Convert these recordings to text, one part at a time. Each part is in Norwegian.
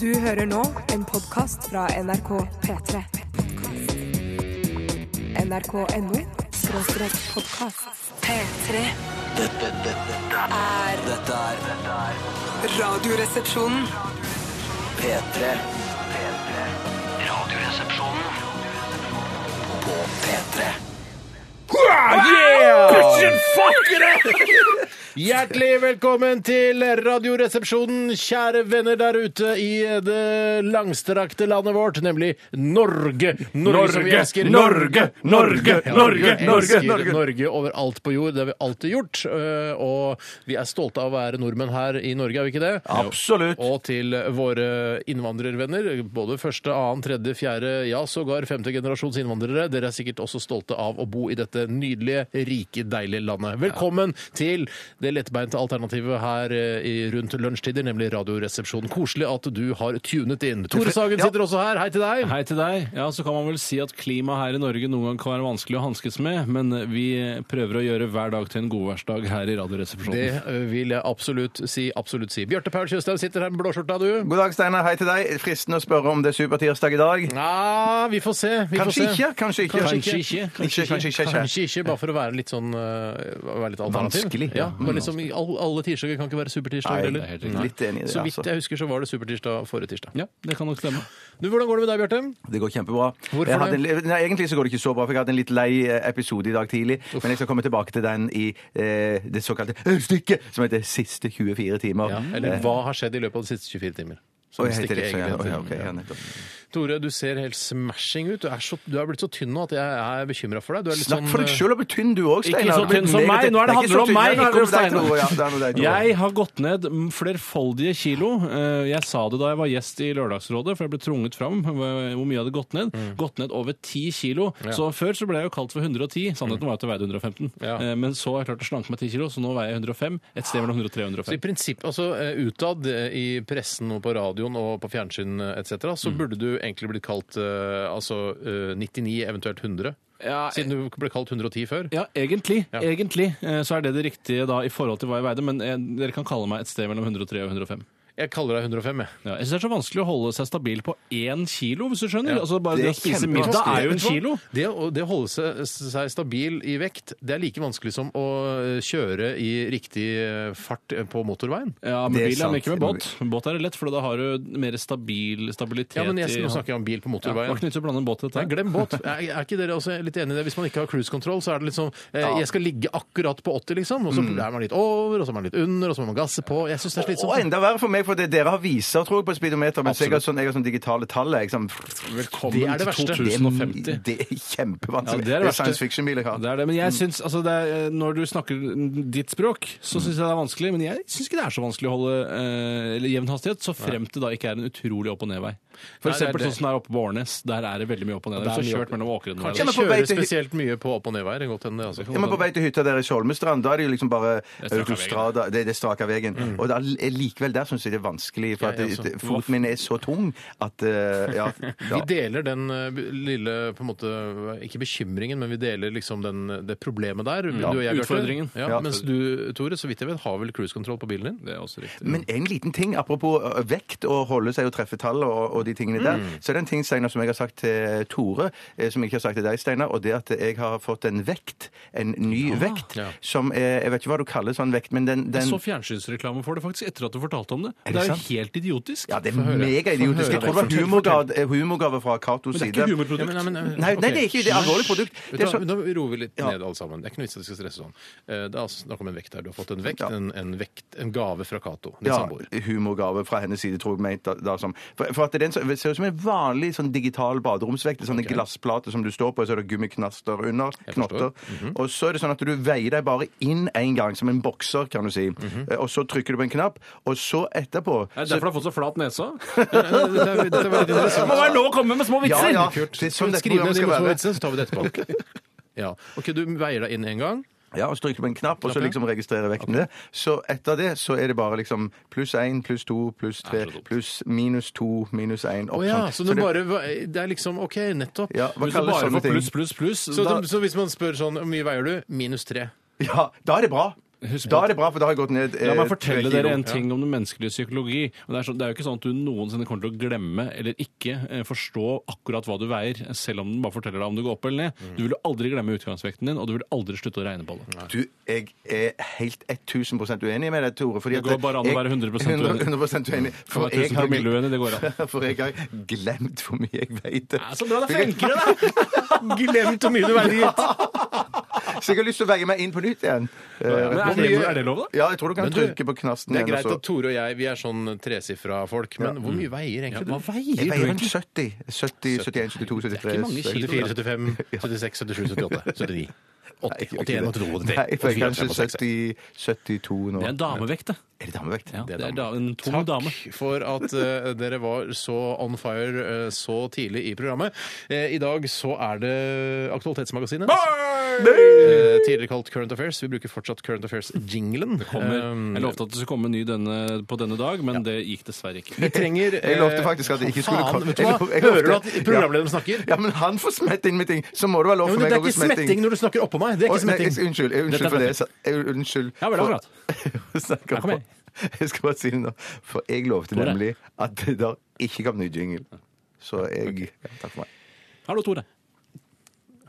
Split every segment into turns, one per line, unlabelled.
Du hører nå en podkast fra NRK P3. NRK.no skråstrek podkast. P3
Dette, dette,
er
dette er dette er
Radioresepsjonen.
P3. P3. Radioresepsjonen på P3.
Hjertelig velkommen til Radioresepsjonen, kjære venner der ute i det langstrakte landet vårt, nemlig Norge. som vi
Norge,
elsker.
Norge, Norge,
Ja,
Norge,
vi elsker
Norge, Norge.
Norge overalt på jord. Det har vi alltid gjort. øh, Og vi er stolte av å være nordmenn her i Norge, er vi ikke det?
Absolutt.
Og til våre innvandrervenner, både første, annen, tredje, fjerde, ja sågar femte generasjons innvandrere. Dere er sikkert også stolte av å bo i dette nydelige, rike, deilige landet. Velkommen til det lettbeinte alternativet her eh, i- rundt lunsjtider, nemlig Radioresepsjonen. Koselig at du har tunet inn. Tore Sagen sitter også her. Hei til deg.
Hei til deg. Ja, så kan man vel si at klimaet her i Norge noen gang kan være vanskelig å hanskes med, men vi prøver å gjøre hver dag til en godværsdag her i
Det
Radioresepsjonen.
eh, vil jeg absolutt si. absolutt si. Bjarte Paul Tjøstheim sitter her med blåskjorta, du.
God dag, Steinar. Hei til deg. Fristende å spørre om det er supertirsdag i dag.
Nei, Ah, vi får se. Vi får
Kanskje
se.
ikke, kanskje
Kanskje
ikke.
ikke.
Kanskje, kanskje ikke. kanskje ikke.
Kanskje ikke, bare for å være litt sånn øh, være litt alternativ.
Vanskelig,
Ja,
ja. Mm.
bare liksom, i all, alle tirsdager kan ikke være supertirsdag
Nei,
heller.
helt
jeg er litt enig i det.
Så vidt
Altså.
jeg husker, så var det supertirsdag forrige tirsdag.
Ja, det kan nok stemme.
Du, Hvordan går det med deg, Bjarte?
Det går kjempebra.
Hvorfor
Jeg hadde
det?
en li- Nei, egentlig så går det ikke så bra, for jeg hadde en litt lei eh, episode i dag tidlig. Men jeg skal komme tilbake til den i eh, det såkalte stykket som heter Siste 24 timer.
Ja, eller hva har skjedd i løpet av de siste 24 timer?
Som
Som
Oi, heter
stikker
det, så, ja.
egentlig
Oi, ja,
til-
ok, ja,
ja.
nettopp.
Tore, du ser helt smashing ut. Du er, så, du er blitt så tynn nå at jeg er bekymra for deg. Du er litt
Snakk
sånn,
for deg
øh,
sjøl, og bli tynn du òg,
Ikke
Steinar.
så tynn som
Meget-
meg. Nå
Nei,
er det
ikke
handler
så
om
tynn.
meg,
Nei,
ikke om
det er
Steinar.
noe, ja, det er noe deg, Tore.
Jeg har gått ned m, flerfoldige kilo. Eh, Jeg sa det da jeg var gjest i Lørdagsrådet, for jeg ble trunget fram hvor hvor mye jeg hadde gått ned. Gått ned over 10 kilo. Så før så ble jeg jo kalt for 110. Sannheten var at jeg veide 115.
Ja.
Eh, Men så har jeg klart å slanke meg 10 kilo, så nå veier jeg 105. Et sted mellom
så
103 og
i
105.
prinsipp, altså eh, Utad eh, i pressen og på radioen og på fjernsyn etc.,
Mm.
så burde du egentlig blitt kalt eh, altså, eh, 99, eventuelt 100.
Ja,
Siden du ble kalt 110 før.
Ja, egentlig.
Ja.
egentlig eh, så er det det riktige da i forhold til hva jeg veide, men eh, dere kan kalle meg et sted mellom 103 og 105.
Jeg kaller deg 105, jeg.
Ja, jeg syns det er så vanskelig å holde seg stabil på én kilo, hvis du skjønner.
Ja.
Altså bare
Det
det
er
å spise
kjempevanskelig.
middag er jo en
Vet du hva?
kilo.
Det å, det å holde seg, seg stabil i vekt, det er like vanskelig som å eh, kjøre i riktig eh, fart på motorveien.
Ja, med
Det er
bil, ja,
sant.
men ikke med båt. Med Båt er det lett, for da har du mer stabil stabilitet
Ja, men jeg,
i-
Nå snakker jeg om bil på
ja, det var
motorveien.
ikke nytt å blande en båt i dette.
Nei, glem båt. Er, er ikke dere også litt enig i det? Hvis man ikke har cruisekontroll, så er det litt sånn eh, Jeg skal ligge akkurat på 80, liksom. Og så er man litt over, og så er man litt under, og så må man gasse på. Jeg syns det er sånn
Og
slitsomt.
enda verre for meg, for det, dere har viser tror jeg, på speedometer, mens jeg har,
Absolutt.
sånn, jeg har sånn digitale tall. Jeg, sånn,
Velkommen
Det er det verste.
til 2050.
Det er kjempevanskelig.
Ja,
det
det er det
er,
verste.
science fiction-bil jeg har.
Det er det, men jeg synes, altså det er, Når du snakker ditt språk, så syns jeg det er vanskelig. Men jeg syns ikke det er så vanskelig å holde eh, eller jevn hastighet, så frem til da ikke er en utrolig opp- og nedvei. For
Nei, det er
eksempel
det.
sånn som det er oppe på Årnes. Der er det veldig mye opp og ned.
Det er
Hvis du
mye
har
opp-
kjørt mellom åkrene
Kanskje
Ja,
der.
jeg
men på vei
kjører
til-
spesielt mye på opp- og nedveier. Godt hende, det,
Ja, men På
altså.
vei til hytta der i Skjolmestrand, da er det jo liksom bare
Det er straka
autostrada. Det, det er straka veien. Og da, likevel der syns jeg det er vanskelig, for at
Jeg også.
det- foten min er så tung at eh, Ja.
Vi
ja.
deler den eh, b- lille på en måte, Ikke bekymringen, men vi deler liksom den, det problemet der. Du og jeg, Bjarte.
Utfordringen.
Ja,
Ja.
Mens du, Tore, så vidt jeg vet, har vel cruisekontroll på bilen din?
Det er også riktig.
Men en liten ting, apropos ø, vekt og holde seg og treffe tall og, og de tingene der, så er det en ting Steiner, som jeg har sagt til Tore, eh, som jeg ikke har sagt til deg, Steinar, og det er at jeg har fått en vekt, en ny vekt,
Ja.
som er, jeg vet ikke hva du kaller sånn vekt, men den,
Jeg
den
så fjernsynsreklame for det faktisk etter at du fortalte om det.
det
Det er jo
sant?
helt idiotisk.
ja, det er
Få høre. Få
megaidiotisk. Jeg
høre.
tror det var
Fortell,
humorgave, humorgave fra Katos
Men det er
side.
ikke humorprodukt.
Ja, men- eh, nei, men-
Nei, nei, det er ikke det er et alvorlig produkt. Det
Vet
er
du,
så,
hva, nå roer vi litt
Ja.
ned alle sammen. Det er ikke noe vits at vi skal stresse sånn. Eh, Det er altså snakk om en vekt her. Du har fått en vekt,
Ja.
en, en vekt, en gave fra Cato, din
ja,
samboer.
humorgave fra hennes side, tror jeg mente da, da som For, for at det er en, sånn- det ser ut som en vanlig sånn digital baderomsvekt. Sånne glassplater som du står på, og så er det gummiknaster under. Knotter.
Mhm.
Og så er det sånn at du veier deg bare inn én gang, som en bokser, kan du si.
Mhm.
Eh, Og så trykker du på en knapp, og så etterpå
Er det
så,
derfor du har fått så flat nese?
Eh,
Dette er- dette er veldig
Det må
interessant.
være lov å komme med små
Ja,
vitser!
ja.
Kult.
Det er sånn dette
Skriv ned de
programmet skal
morsomme
være.
vitsene, så tar vi det etterpå. Ja. OK, du veier deg inn én gang.
Ja, og så trykker du på en knapp, og så
Knapp, ja.
liksom registrerer vekten det. Så etter det så er det bare liksom pluss én, pluss to, pluss tre, pluss minus to, minus én, opp
Å ja,
sånn.
så
Så
du
det-
bare Det er liksom OK, nettopp.
ja, hva
Hvis du
kalles sånn
bare
sånne
får
ting?
pluss, pluss, pluss
Så,
da-
så hvis man spør sånn Hvor mye veier du? Minus tre.
Ja, da er det bra.
Husk
Da
på
er det bra, for da har jeg gått ned eh,
La meg fortelle dere en ting om den menneskelige psykologi. Og det, er så, det er jo ikke sånn at du noensinne kommer til å glemme eller ikke eh, forstå akkurat hva du veier, selv om den bare forteller deg om du går opp eller ned. Du vil aldri glemme utgangsvekten din, og du vil aldri slutte å regne på det.
Du, jeg er helt 1000 uenig med deg, Tore. Fordi
Det går
at
bare an å
jeg-
være 100% uenig.
100% uenig.
Kan være 1000 promille uenig, det går an.
For jeg har glemt hvor mye jeg veit.
Så bra, det flinker du, da!
Glemt hvor mye du veier, gitt.
Så jeg har lyst til å veie meg inn på nytt igjen.
men
Eh,
er det-
hvor mye-
er det lov, da?
Ja, jeg tror du kan
Men du,
trykke på knasten.
Det er
igjen,
greit
og Mm. så-
at Tore og jeg vi er sånn tresifra folk, men hvor mye veier egentlig du?
hva veier
Jeg
du
veier rundt
egentlig?
70. 70, 71, 72, 73
74, 75, 76, 77, 78, 79. 80, 81, 82, 83.
Nei, for jeg
84,
er kanskje
85, 86.
70, 72 nå.
Det er en damevekt, det.
Er det damevekt?
Ja,
Det er
det er
damevekt.
da, en tung
Takk
dame.
for at eh, dere var så on fire eh, så tidlig i programmet. Eh, I dag så er det Aktualitetsmagasinet. Eh, tidligere kalt Current Affairs. Vi bruker fortsatt Current Affairs-jinglen. Eh, Um,
Kommer. Jeg lovte at det skulle komme en ny denne, på denne dag, men det gikk dessverre ikke.
Vi trenger eh,
Jeg lovte faktisk at det ikke skulle
faen,
komme.
vet du hva?
Jeg lov- jeg
Hører du
lovte-
at programlederen snakker?
Ja, men han får smette inn med ting! Så må det være lov
Ja,
for
men
meg
det
å
er
gå
ikke smetting når du snakker oppå meg. Det er
Oi,
ikke
nei,
smetting.
Unnskyld. jeg-
Dette
Unnskyld
er
for det. jeg sa- jeg- Unnskyld.
Ja, vel,
for-
akkurat.
Snakker
Ja, kom
på.
igjen.
Jeg skal bare si det nå. For jeg lovte
Hvor er-
nemlig at det der ikke kom ny jingle. Så jeg ja, Takk for meg.
Hallo, Tore.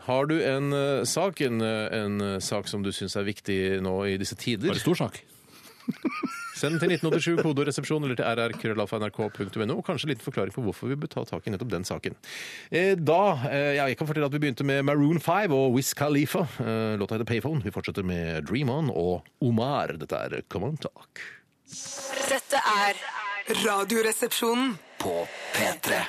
Har du en eh, sak, en, eh, en eh, sak som du syns er viktig nå i disse
Var
tider?
det stor sak?
Send den til 1987 koderesepsjon eller til rrkrøllalfa.nrk.no. og Kanskje en liten forklaring på hvorfor vi bør ta tak i nettopp den saken. Eh, Da, eh, ja, Jeg kan fortelle at vi begynte med Maroon 5 og Wiz Khalifa. Eh, Låta heter Payphone. Vi fortsetter med Dream On og Omar. Dette er Come On Talk.
Dette er Radioresepsjonen.
På P3.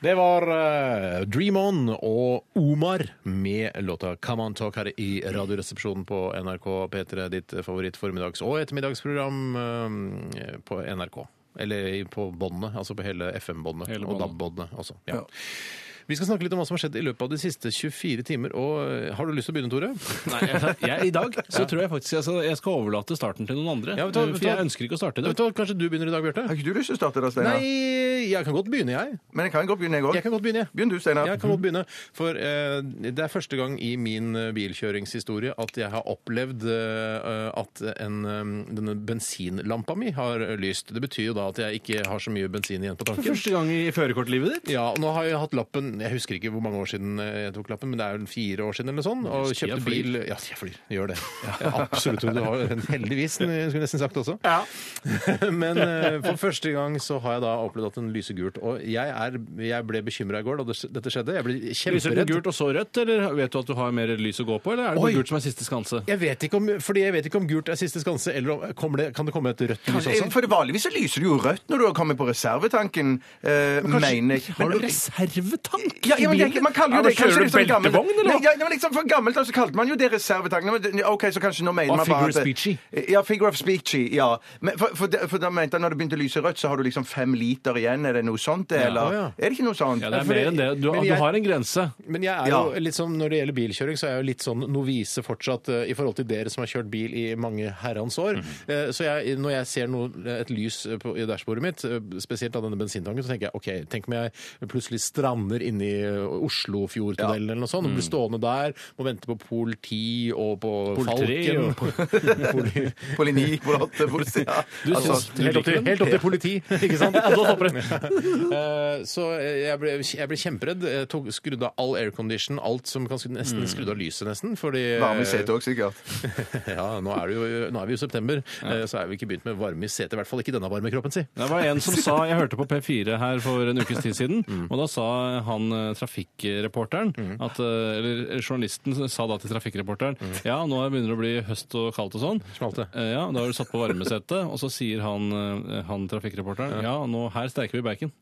Det var eh, Dream On og Omar med låta Come On Talk her i Radioresepsjonen på NRK P3, ditt favoritt formiddags- og ettermiddagsprogram eh, på NRK. Eller i- på båndene, altså på hele FM-båndene
Hele
og
båndet.
DAB-båndene også. Ja. Vi skal snakke litt om hva som har skjedd i løpet av de siste 24 timer. og eh, Har du lyst til å begynne, Tore?
Nei, jeg, jeg, I dag så tror jeg faktisk jeg skal, jeg skal overlate starten til noen andre. Eh,
Ja, vet du hva- vet du
for jeg
hva-
ønsker ikke å starte i
Vet
dag.
du hva, Kanskje du begynner i dag, Bjarte?
Har ikke du lyst til å starte da, Steinar?
Nei, jeg kan godt begynne, jeg.
Men jeg kan godt begynne, jeg
Jeg kan
òg.
godt begynne, jeg.
Begynn du, Steinar.
Jeg kan godt begynne. For eh, det er første gang i min eh, bilkjøringshistorie at jeg har opplevd eh, at en, eh, denne bensinlampa mi har eh, lyst. Det betyr jo da at jeg ikke har så mye bensin igjen på tanken.
Første gang i førerkortlivet ditt.
Ja, og nå har jeg hatt lappen Jeg husker ikke hvor mange år siden eh, jeg tok lappen, men det er jo fire år siden eller sånn. Og
Tida
kjøpte
flyr.
bil Ja, jeg flyr. Gjør det. Ja, absolutt. Du har en heldigvis, skulle jeg nesten sagt også. Men eh, for første gang så har jeg da opplevd at den lyser gult. Og jeg, er, jeg ble bekymra i går da det, dette skjedde. Jeg ble
Lyser den
kjemperedd.
gult og så rødt, eller vet du at du har mer lys å gå på, eller er det
Oi.
bare gult som er siste skanse?
Jeg vet ikke om, fordi jeg vet ikke om gult er siste skanse, eller om, kommer det, kan det komme et rødt lys
Eh,
også?
For Vanligvis så lyser det jo rødt når du har kommet på reservetanken, eh, mener jeg.
Har du
Men-
reservetank
Ja, ja, men det, man kaller jo det kanskje
Kjører
litt
du
sånn gammel-
beltevogn, eller?
Nei, ja, ja, men liksom For gammelt av så kalte man jo det reservetanken. men det- OK, så kanskje nå mener
Og
man bare
figure
at-
of speechy.
Ja, figure of speechy. Ja. Men for, for, det- for da mente jeg når det begynte å lyse rødt, så har du liksom fem liter igjen. Er det noe sånt, eller?
Å, ja.
Er det ikke noe sånt?
Ja, det
Ja,
er
for
mer enn det. Du,
men
du
jeg-
har en grense.
Men jeg er
Ja.
jo litt sånn, når det gjelder bilkjøring, så er jeg jo litt sånn novise fortsatt eh, i forhold til dere som har kjørt bil i mange herrens år. Eh, Så jeg, når jeg ser noe, et lys på, i dashbordet mitt, eh, spesielt av denne bensintanken, så tenker jeg OK, tenk om jeg plutselig strander inni Oslofjordtunnelen eller noe sånt, og blir stående der, må vente på politi og på
Polteri
Falken.
og-
Poli-
Polini, polate, politi, ja.
Du
Altså,
syns helt opp, til, helt opp til politi, ikke sant? Ja, da stopper det. Eh, Så jeg ble, jeg ble kjemperedd. Jeg tok, skrudde av all aircondition, alt som kan skru, nesten skrudde av lyset, nesten. Fordi eh,
Varme i setet òg, sikkert.
Ja, nå er, det jo, nå er vi jo i september, eh, så er vi ikke begynt med varme i setet. I hvert fall ikke denne varme kroppen, si.
Det var en som sa, Jeg hørte på P4 her for en ukes tid siden, og da sa han eh, trafikkreporteren at, eh, Eller journalisten sa da til trafikkreporteren Ja, nå begynner det å bli høst og kaldt og sånn.
Smalt det.
Eh, Ja, Da har du satt på varmesettet, og så sier han, eh, han trafikkreporteren Ja, nå her steiker vi bacon.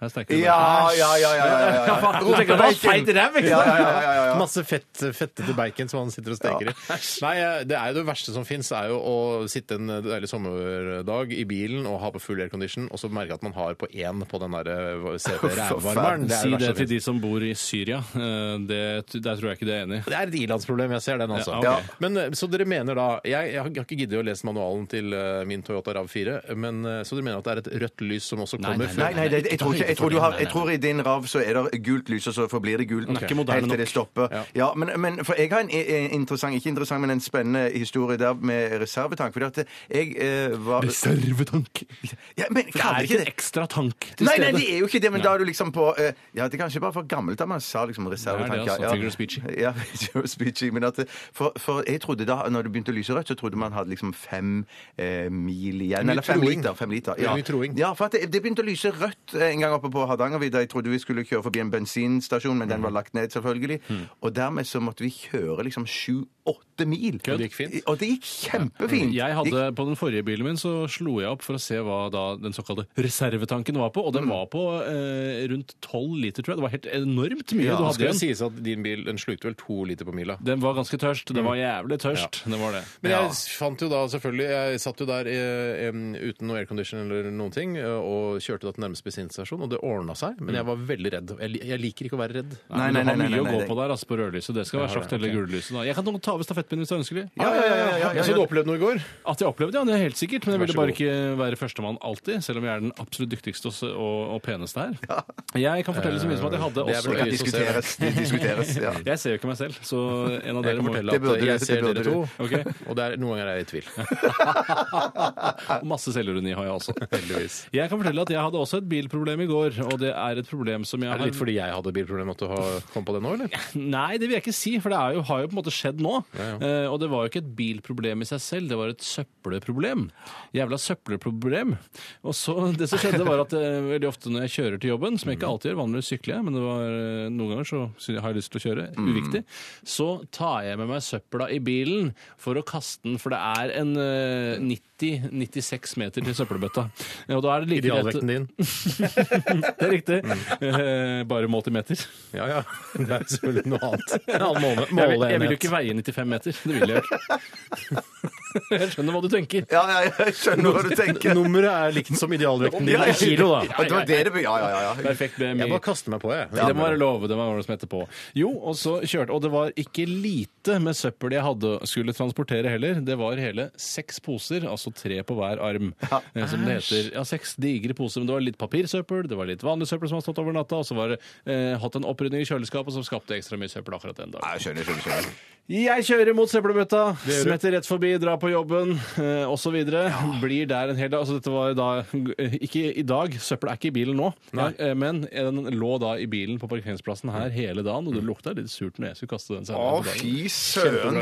Her steiker vi bacon.
Ja, ja, ja. ja, ja, ja, ja.
Du tenker at det var feit ræv, ikke
Ja, ja,
sant?
ja, ja, ja.
Masse fett, fettete bacon som han sitter og steker i. Nei, eh, det er jo det verste som fins, er jo å sitte en deilig sommerdag i bilen og ha på full aircondition, og så merke at man har på én på den eh, derre CT-rævvarmeren.
Si det til de som bor i Syria. Eh, Det, der tror jeg ikke de er enig i.
Det er et ilandsproblem, jeg ser den altså.
Ja, ok.
Men, eh, så dere mener da Jeg, jeg har ikke giddet å lese manualen til eh, min Toyota RAV4, men, eh, så dere mener at det er et rødt lys som også
Nei,
kommer
nei,
før
Nei, nei, det, jeg tror ikke, jeg tror, du har, jeg tror i din rav så er det gult lys, og så forblir det gult
er ikke
helt til
moderne nok.
det stopper.
Ja.
Ja. men, men for jeg har en i- en interessant, ikke interessant, men en spennende historie der med reservetank. Fordi at jeg eh, var
Reservetank.
ja, men,
Det
kan
er
det
ikke
ikke
en
det?
ekstra tank til
Nei,
stede.
nei, det er jo ikke det, men da er du liksom på eh, Ja, det er kanskje bare for gammelt da man sa liksom reservetank.
Det er det, altså,
ja,
figure of speech.
Ja, figure of speech, men at, eh, for, for jeg trodde da, når det begynte å lyse rødt, så trodde man hadde liksom fem eh, mil igjen. Eller fem
troing.
liter. Fem liter.
Mye troing.
ja, for at det, det begynte å lyse rødt eh, en gang oppe på Hardangervidda. Jeg trodde vi skulle kjøre forbi en bensinstasjon, men
Mhm.
den var lagt ned, selvfølgelig.
Hmm.
Og dermed så måtte vi kjøre liksom sju-åtte mil.
Kødd.
Det gikk fint.
Og det gikk kjempefint.
Jeg
Gikk-
hadde, På den forrige bilen min så slo jeg opp for å se hva da den såkalte reservetanken var på. Og den var på eh, rundt 12 liter, tror jeg. Det var helt enormt mye
Ja,
du
det skal
hadde
jo
igjen.
sies at din bil den slukte vel to liter på mila.
Den var ganske tørst. Den var jævlig tørst. Den var Mm. det.
Men jeg fant jo da selvfølgelig Jeg satt jo der eh, em, uten noe aircondition eller noen ting eh, og kjørte da til nærmeste bensinstasjon, og det ordna seg. Men jeg var veldig redd. Jeg, li- jeg liker ikke å være redd.
Nei,
Nei, nei, nei,
du har
nei,
mye
nei,
å gå
nei.
på der, altså, på rødlyset. Det skal være sagt, eller gullyset. da. Jeg kan ta over stafettpinnen hvis det er ønskelig.
Ja, ja, ja, ja, ja, ja,
Så du opplevde noe i går?
At jeg opplevde ja, det er helt sikkert, men jeg
Vær
ville
så
bare
god.
ikke være førstemann alltid, selv om jeg er den absolutt dyktigste og, og, og peneste her. Jeg kan fortelle så mye som at jeg hadde
det er vel
også
Det kan
øyet som ser.
diskuteres. Det diskuteres, ja.
Jeg ser jo ikke meg selv, så en
Jeg
av dere
kan
må
fortelle
Det
at
burde
eh,
du,
jeg
det
ser
burde
dere
du.
to,
Ok.
og det er, noen ganger er jeg i tvil.
Og masse selvironi har jeg også. Heldigvis. Jeg kan fortelle at jeg hadde også et bilproblem i går, og det er et problem som jeg
Er det litt
har
fordi jeg hadde bilproblem at du har kommet på det nå, eller?
Nei, det vil jeg ikke si, for det er jo, har jo på en måte skjedd nå. Eh, og det var jo ikke et bilproblem i seg selv, det var et søppelproblem. Jævla søppelproblem. Og så, det som skjedde var at eh, veldig ofte når jeg kjører til jobben, som jeg
Mm.
ikke alltid gjør, vanligvis sykler jeg, men det var, eh, noen ganger så sy- har jeg lyst til å kjøre,
Mm.
uviktig, så tar jeg med meg søpla i bilen for å kaste den, for det er en eh, 90-96 meter til søppelbøtta. Eh, Og da er det like greit-
Idealvekten din?
Det er riktig. Eh, bare målt i meter.
Ja ja. Det er selvfølgelig noe annet. En annen måle,
Jeg vil, jeg vil jo
måleenhet.
ikke veie 95 meter. Det vil jeg ikke. Jeg skjønner hva du tenker.
Ja, ja, jeg skjønner hva du tenker.
Nummeret er likt som idealvekten
Ja,
din i
ja.
kilo, da.
Ja, det var det det ble. Ja, ja, ja. ja.
Perfekt BMI.
Jeg bare kaster meg på, jeg.
det må være lov. Det må være noe som heter på. Jo, og så kjørte Og det var ikke lite med søppel jeg hadde skulle transportere heller. Det var hele seks poser, altså tre på hver arm. eh, Som det heter. Ja, seks digre poser. Men det var litt papirsøppel, det var litt vanlig søppel som har stått over natta, og så var det eh, hatt en opprydning i kjøleskapet som skapte ekstra mye søppel akkurat den dagen.
Ja, jeg skjønner, skjønner, skjønner.
Jeg kjører mot søppelbøtta,
gjør du.
smetter rett forbi, drar på jobben eh, osv. Blir der en hel dag. Altså, dette var da eh, Ikke i dag, søppel er ikke i bilen nå, Ja, eh, men den lå da i bilen på parkeringsplassen her hele dagen, og det lukta litt surt når jeg skulle kaste den
Mm. Å,
senere. på dagen.
fy søren,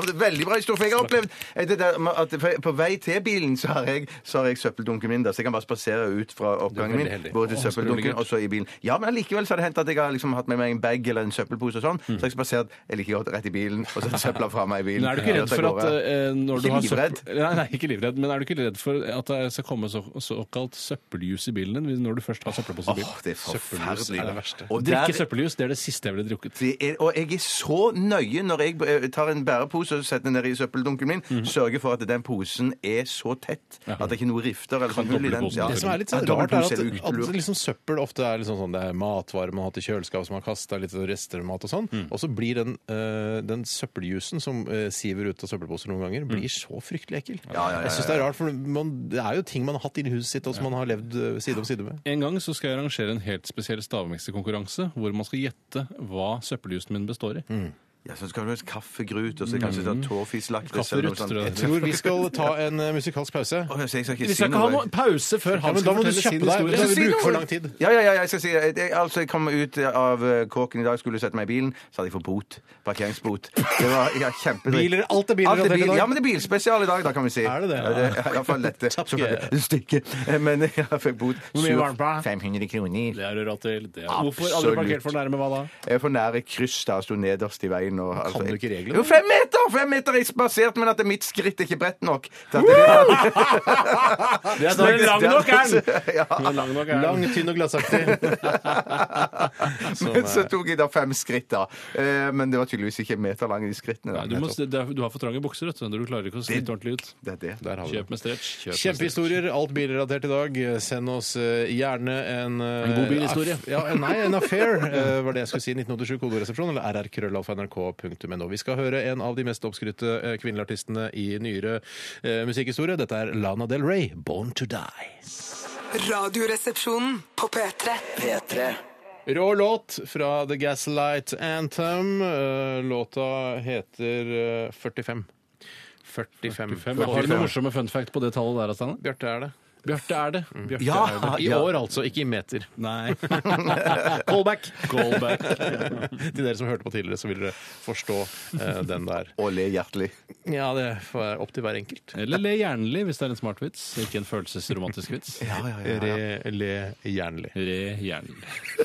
grusomt. Veldig bra historie. For jeg har opplevd eh, det der med at for- på vei til bilen så har jeg, så har jeg søppeldunken min der, så jeg kan bare spasere ut fra oppgangen min,
veldig heldig.
både
Å,
til
selvfølgelig.
søppeldunken og så i bilen. Ja, men allikevel så har det hendt at jeg har liksom hatt med meg en bag eller en søppelpose og sånn, så har jeg spasert jeg liker godt rett i bilen, og så søpla fra meg i bilen.
Mm. Men er du ikke
Ja,
redd
så
for at
går jeg.
eh, når du
Ikke
har søppel-
livredd?
Nei, nei, ikke livredd, men er du ikke redd for at det skal komme så, såkalt søppeljus i bilen din når du først har søppelpose i bilen?
Åh, det er
Søppelhus er det
forferdelig.
verste.
Og
Drikke
der-
søppeljus, det er det siste jeg ville drukket.
Det er, og jeg er så nøye når jeg eh, tar en bærepose og setter den ned i søppeldunken min,
Mhm.
sørger for at den posen er så tett at det ikke er noe rifter eller sånn hull i den.
dobbeltposen
Ja.
til.
Det som er litt
Ja,
sånn rart, er
dobbeltpose
at,
eller
at
utelur.
liksom søppel ofte er liksom sånn, det er matvarer man har hatt i kjøleskapet som man har kasta, litt rester av mat og sånn. Og så blir den, eh, den søppeljusen som eh, siver ut av søppelposer noen ganger, blir så fryktelig ekkel.
Ja, ja, ja,
Jeg syns det er rart, for man, det er jo ting man har hatt inni huset sitt, og som man har levd eh, side om side med.
En gang så skal jeg arrangere en helt spesiell stavmiksekonkurranse hvor man skal gjette hva søppeljusen min består i.
Mm. liksom-
Ja, så skal du ha et kaffegrut, og så kanskje
Mhm.
sånn tårfislakris eller noe
Kafferutt,
sånt.
tror jeg.
Jeg tror vi skal ta en eh, musikalsk pause.
Åh, så jeg skal
Vi
ikke si
skal ikke ha
noe.
noen pause før
Ja, men
han
da
skal
må du
fortelle
kjappe
sin
deg.
historie.
Da
Jeg
vil
skal
vi
si
bruke for
noe.
lang tid.
Ja, ja, ja, jeg skal si jeg, jeg, Altså, jeg kom ut av eh, kåken i dag, skulle sette meg i bilen, så hadde jeg fått bot. Parkeringsbot. Det var ja, kjempedritt.
Biler, alt er biler
Alt
i dag.
er bil, ja, men det er bilspesial i dag, da kan vi si.
Er det det?
Ja, det er i hvert fall dette.
Takk.
Selvfølgelig. Stikke. Eh, Men jeg fikk bot.
Hvor mye var den på?
500 kroner.
Det er du råd til. Det er.
Absolutt.
Hvorfor aldri parkert for nærme hva da?
Jeg er for nær et kryss der, sto nederst i veien. Og, altså,
du
jeg-
ikke reglene?
Jo, fem meter! Fem meter er spasert, men at mitt skritt er ikke bredt nok. til at Det
Det er lang nok, er den!
ja.
Men lang nok er
Lang, tynn og glassaktig.
Men
eh,
så tok jeg da fem skritt, da. Eh, Men det var tydeligvis ikke en meter lang i skrittene. Da.
Nei, du, må, det er, du har for trange bukser, vet du. Du klarer ikke å snitte ordentlig ut.
Det er det.
Der har vi det.
Kjøp med stretch. Kjøp med stretch.
Kjempehistorier, alt bilrelatert i dag. Send oss eh, gjerne en eh,
En god bilhistorie.
aff- Ja, nei, en affair, eh, var det jeg skulle si. 1987, kodoresepsjon, eller rrkrøllalfa.nrk.no. Vi skal høre en av de mest oppskrytte eh, kvinnelige artistene i nyere eh, musikkhistorie. Dette er Lana Del Rey, 'Born to Die'.
Radioresepsjonen på P3.
P3.
Rå låt fra The Gaslight Anthem. Eh, Låta heter eh, 45. 45.
Har du noen morsomme fun fact på det tallet der, Astana?
Bjarte er det.
Bjarte er det.
Mm.
Bjarte
Ja,
er det.
I år, altså. Ikke i meter.
Nei.
Callback!
Callback.
Til dere som hørte på tidligere, så vil dere forstå eh, den der.
Og le hjertelig.
Ja, det er opp til hver enkelt.
Eller le jernlig, hvis det er en smart vits, ikke en følelsesromantisk vits.
Eh, Re, le jernlig.
Re jernlig.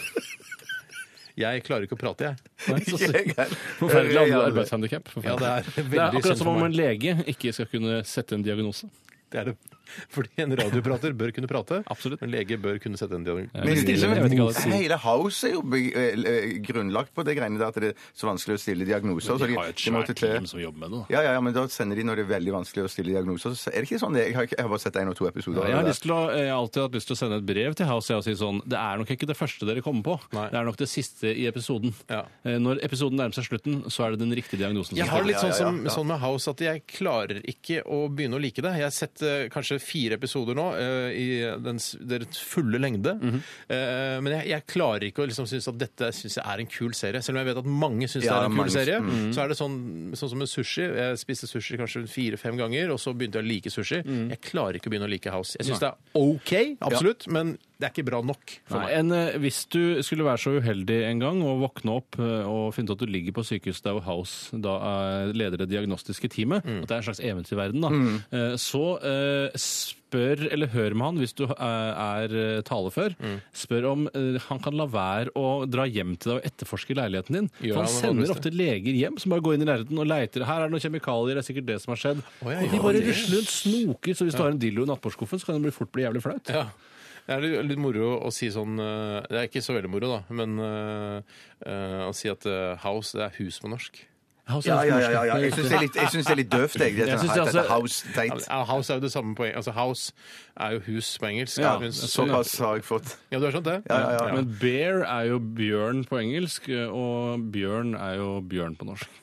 Jeg klarer ikke å prate, jeg.
Nei, så
Jeg er-
Forferdelig
jeg er-
andre- arbeidshandicap.
Ja, det
Forferdelig.
er
Det er
veldig
akkurat
synd
som
for
om en
meg.
lege ikke skal kunne sette en diagnose.
Det er det. Fordi en radioprater bør kunne prate.
Absolutt.
En lege bør kunne sette en dialog.
Men det er
Jeg vet ikke hva det
liksom,
sier.
hele House er jo byg- eh, eh, grunnlagt på det greiene der at det er så vanskelig å stille diagnoser. så
De har jo et
de måtte
svært
til-
team som jobber med det. da.
Ja, ja, ja, men da sender de når det er veldig vanskelig å stille diagnoser. Så er det ikke sånn det? Jeg har, ikke, jeg har bare sett én og to episoder. av
Jeg har,
det
lyst til å, eh, jeg har alltid hatt lyst til å sende et brev til House jeg, og si sånn Det er nok ikke det første dere kommer på.
Nei.
Det er nok det siste i episoden.
Ja.
Eh, Når episoden nærmer seg slutten, så er det den riktige diagnosen. som
Jeg har det
kommer.
litt sånn, som,
Ja, ja, ja.
sånn med House at jeg klarer ikke å begynne å like det. Jeg har sett eh, kanskje fire episoder nå eh, i dens, deres fulle lengde.
Mhm.
Eh, men jeg, jeg klarer ikke å liksom synes at dette synes jeg er en kul serie. Selv om jeg vet at mange syns det
Ja,
er en kul
mange- mhm.
serie. Så er det sånn, sånn som med sushi. Jeg spiste sushi kanskje fire-fem ganger, og så begynte jeg å like sushi.
Mhm.
Jeg klarer ikke å begynne å like House. Jeg syns det er OK, absolutt, men det er ikke bra nok for
Nei,
meg.
en, eh, hvis du skulle være så uheldig en gang og våkne opp eh, og finne ut at du ligger på sykehus der hvor House da er leder det diagnostiske teamet,
Mm.
at det er en slags eventyrverden, da,
Mm.
eh, så eh, spør, eller hør med han hvis du eh, er eh, talefør,
Mm.
spør om eh, han kan la være å dra hjem til deg og etterforske leiligheten din.
Gjør
For han
han det
sender
vanligste?
ofte leger hjem som bare går inn i leiligheten og leiter. Her er det noen kjemikalier, det er sikkert det som har skjedd.
Å, ja,
og de
gjør
bare
det.
rusler rundt, snoker, så hvis du har en dillo i nattbordskuffen, så kan det bli- fort bli jævlig flaut.
Ja. Det er litt- litt moro å si sånn eh, Det er ikke så veldig moro, da, men eh, eh, å si at eh, house, det er hus på norsk.
House
Ja,
er
ja, ja, ja,
norsk,
ja.
det er
Jeg
riktig.
syns det, er litt- jeg synes det er litt døvt, jeg. Det er
Jeg
sånn,
synes det
at dette
altså-
er house
Ja,
teit.
House er jo det samme poeng. Altså, house er jo hus på engelsk.
Ja,
men,
sånn,
så,
Såpass har jeg fått.
ja du har skjønt det?
Ja, ja, ja.
Men bear er jo bjørn på engelsk, og bjørn er jo bjørn på norsk.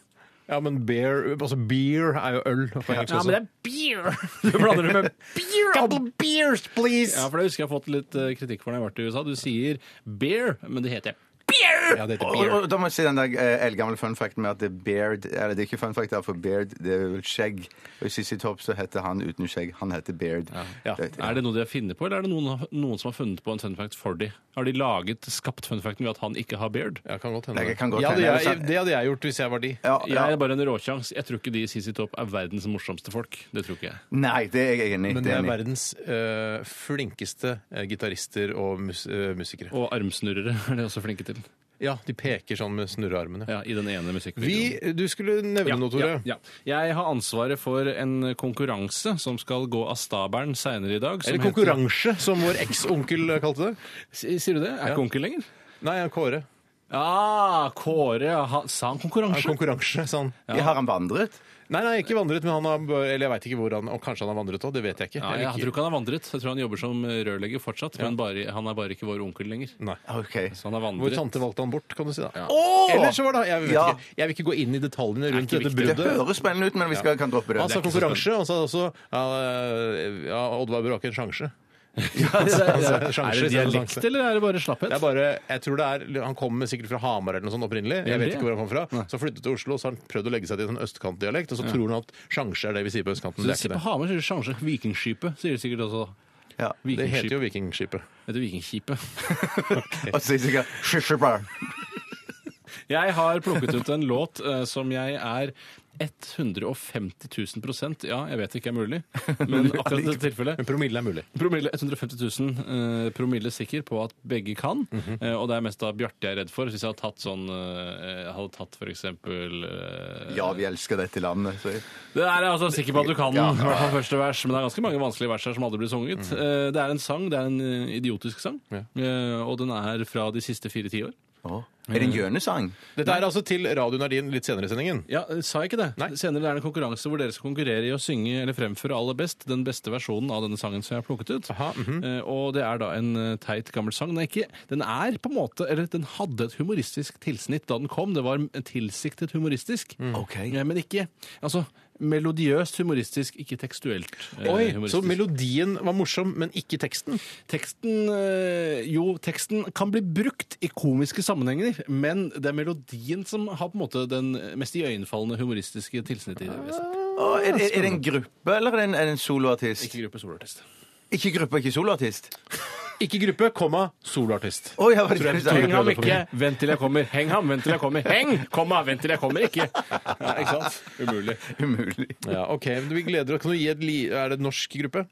Ja, men beer, altså beer er jo øl på engelsk også.
er beer! Du blander det med beer!
Couple beers, please!
Ja,
Ja,
for det husker jeg har fått litt eh, kritikk for når jeg har vært i USA. Du sier bear, men det heter jeg.
det heter
Og,
beer.
og da må jeg si den der eh, eldgamle fun facten med at det er beard Eller det er ikke fun fact, det er for beard, det er vel skjegg. Og i Sissy Topp så heter han uten skjegg, han heter Beard.
Ja.
Det-
Er det noe de har funnet på, eller er det noen, noen som har funnet på en fun fact for de? Har de laget, skapt fun facten ved at han ikke har beard?
Ja, kan godt hende.
Nei, det kan godt
Ja, det,
hende.
jeg, det hadde jeg gjort hvis jeg var de.
Ja, ja.
Jeg er bare en råkjangs. Jeg tror ikke de i CC Top er verdens morsomste folk. Det tror ikke jeg.
Nei, det er jeg enig i.
Men
det
det
er
er
enig i.
verdens eh, flinkeste eh, gitarister og mus eh, musikere.
Og armsnurrere er de også flinke til.
Ja, de peker sånn med snurrearmene.
Ja, I den ene musikkvideoen.
Vi, du skulle nevne noe, Tore.
Ja, ja. Jeg har ansvaret for en konkurranse som skal gå av stabelen seinere i dag. som
Eller
heter-
konkurranse, som vår eks-onkel kalte det.
S- Sier du det? Er ikke onkel lenger?
Nei, han Kåre.
Ah, Kåre ja, han- sa han
Han
konkurranse?
konkurranse, sa han.
Har han vandret?
Nei, nei, ikke vandret, men han har, eller jeg veit ikke hvor han Og kanskje han har vandret òg, det vet jeg ikke.
ja,
Eller
jeg
ikke.
tror ikke han har vandret. Jeg tror han jobber som rørlegger fortsatt, men bare, han er bare ikke vår onkel lenger.
Nei.
Ah, OK.
Så han har
Hvor
vandret.
tante valgte han bort, kan du si da.
Åh!
Eller så var det Jeg vet
Ja.
ikke. Jeg vil ikke gå inn i detaljene rundt
ikke
dette
Det
viktig.
bruddet.
høres spennende ut, men vi skal, kan droppe det.
Han sa
Det er ikke så
konkurranse, og han sa også ja, ja, Oddvar Bråker sjanse.
Ja, det er,
Altså,
er
sjanse
det
istedenfor
dialekt,
sjanse.
eller er det bare slapphet?
Det er bare, jeg tror det er, Han kommer sikkert fra Hamar eller noe sånt opprinnelig. Jeg vet
det?
ikke hvor han kom fra. Så han flyttet til Oslo, så har han prøvd å legge seg til en sånn østkantdialekt, og så tror han at sjanse er det vi sier på østkanten. Det er
på
ikke det.
Hamar sier de sjanse. Vikingskipet sier de sikkert også.
Ja.
Det heter
Vikingskip.
jo Vikingskipet.
Det heter Vikingskipet.
Og så sier jeg sikkert «Shushabar».
Jeg har plukket ut en låt eh, som jeg er 150 000 prosent Ja, jeg vet det ikke er mulig, men akkurat i dette tilfellet
Men promille er mulig.
promille, 150 000 eh, promille sikker på at begge kan.
Mhm.
eh, og det er mest da Bjarte jeg er redd for. Hvis jeg hadde tatt sånn eh, jeg Hadde tatt for eksempel eh,
Ja, vi elsker dette landet. Så jeg-
Det er jeg altså sikker på at du kan,
Ja. Mhm.
i hvert fall første vers. Men det er ganske mange vanskelige vers her som aldri blir sunget. Eh, det er en sang. Det er en eh, idiotisk sang. eh, og den er fra de siste fire tiår.
Åh. Er det en gjønesang?
Dette er altså til Radio Nardin litt senere i sendingen.
Ja, eh, sa jeg ikke det? Senere er det en konkurranse hvor dere skal konkurrere i å synge eller fremføre aller best den beste versjonen av denne sangen som jeg har plukket ut.
mhm.
Eh, Og det er da en eh, teit gammel sang. Den er, ikke, den er på en måte, eller den hadde et
Mm.
humoristisk tilsnitt da den kom. Det var tilsiktet humoristisk.
Ok.
Eh, Men ikke, altså... melodiøst humoristisk, ikke tekstuelt eh,
Oi, så
humoristisk.
melodien var morsom, men ikke teksten?
teksten eh, Jo, teksten kan bli brukt i komiske sammenhenger, men det er melodien som har på en måte den mest iøynefallende humoristiske tilsnittet i det.
Ah.
vil jeg si.
Å, er, er, er det en gruppe, eller er det en, er det en soloartist?
Ikke gruppe soloartist.
Ikke gruppe, ikke soloartist.
Ikke gruppe, komma, soloartist.
Å, ja, hva er det du sa?
Heng ham ikke! Vent til jeg kommer! Heng ham! Vent til jeg kommer! Heng! Komma! Vent til jeg kommer! Ikke! Ja, ikke sant? Umulig.
Umulig.
Ja, ok, men vi gleder oss. Kan du gi et li... Er det en norsk gruppe?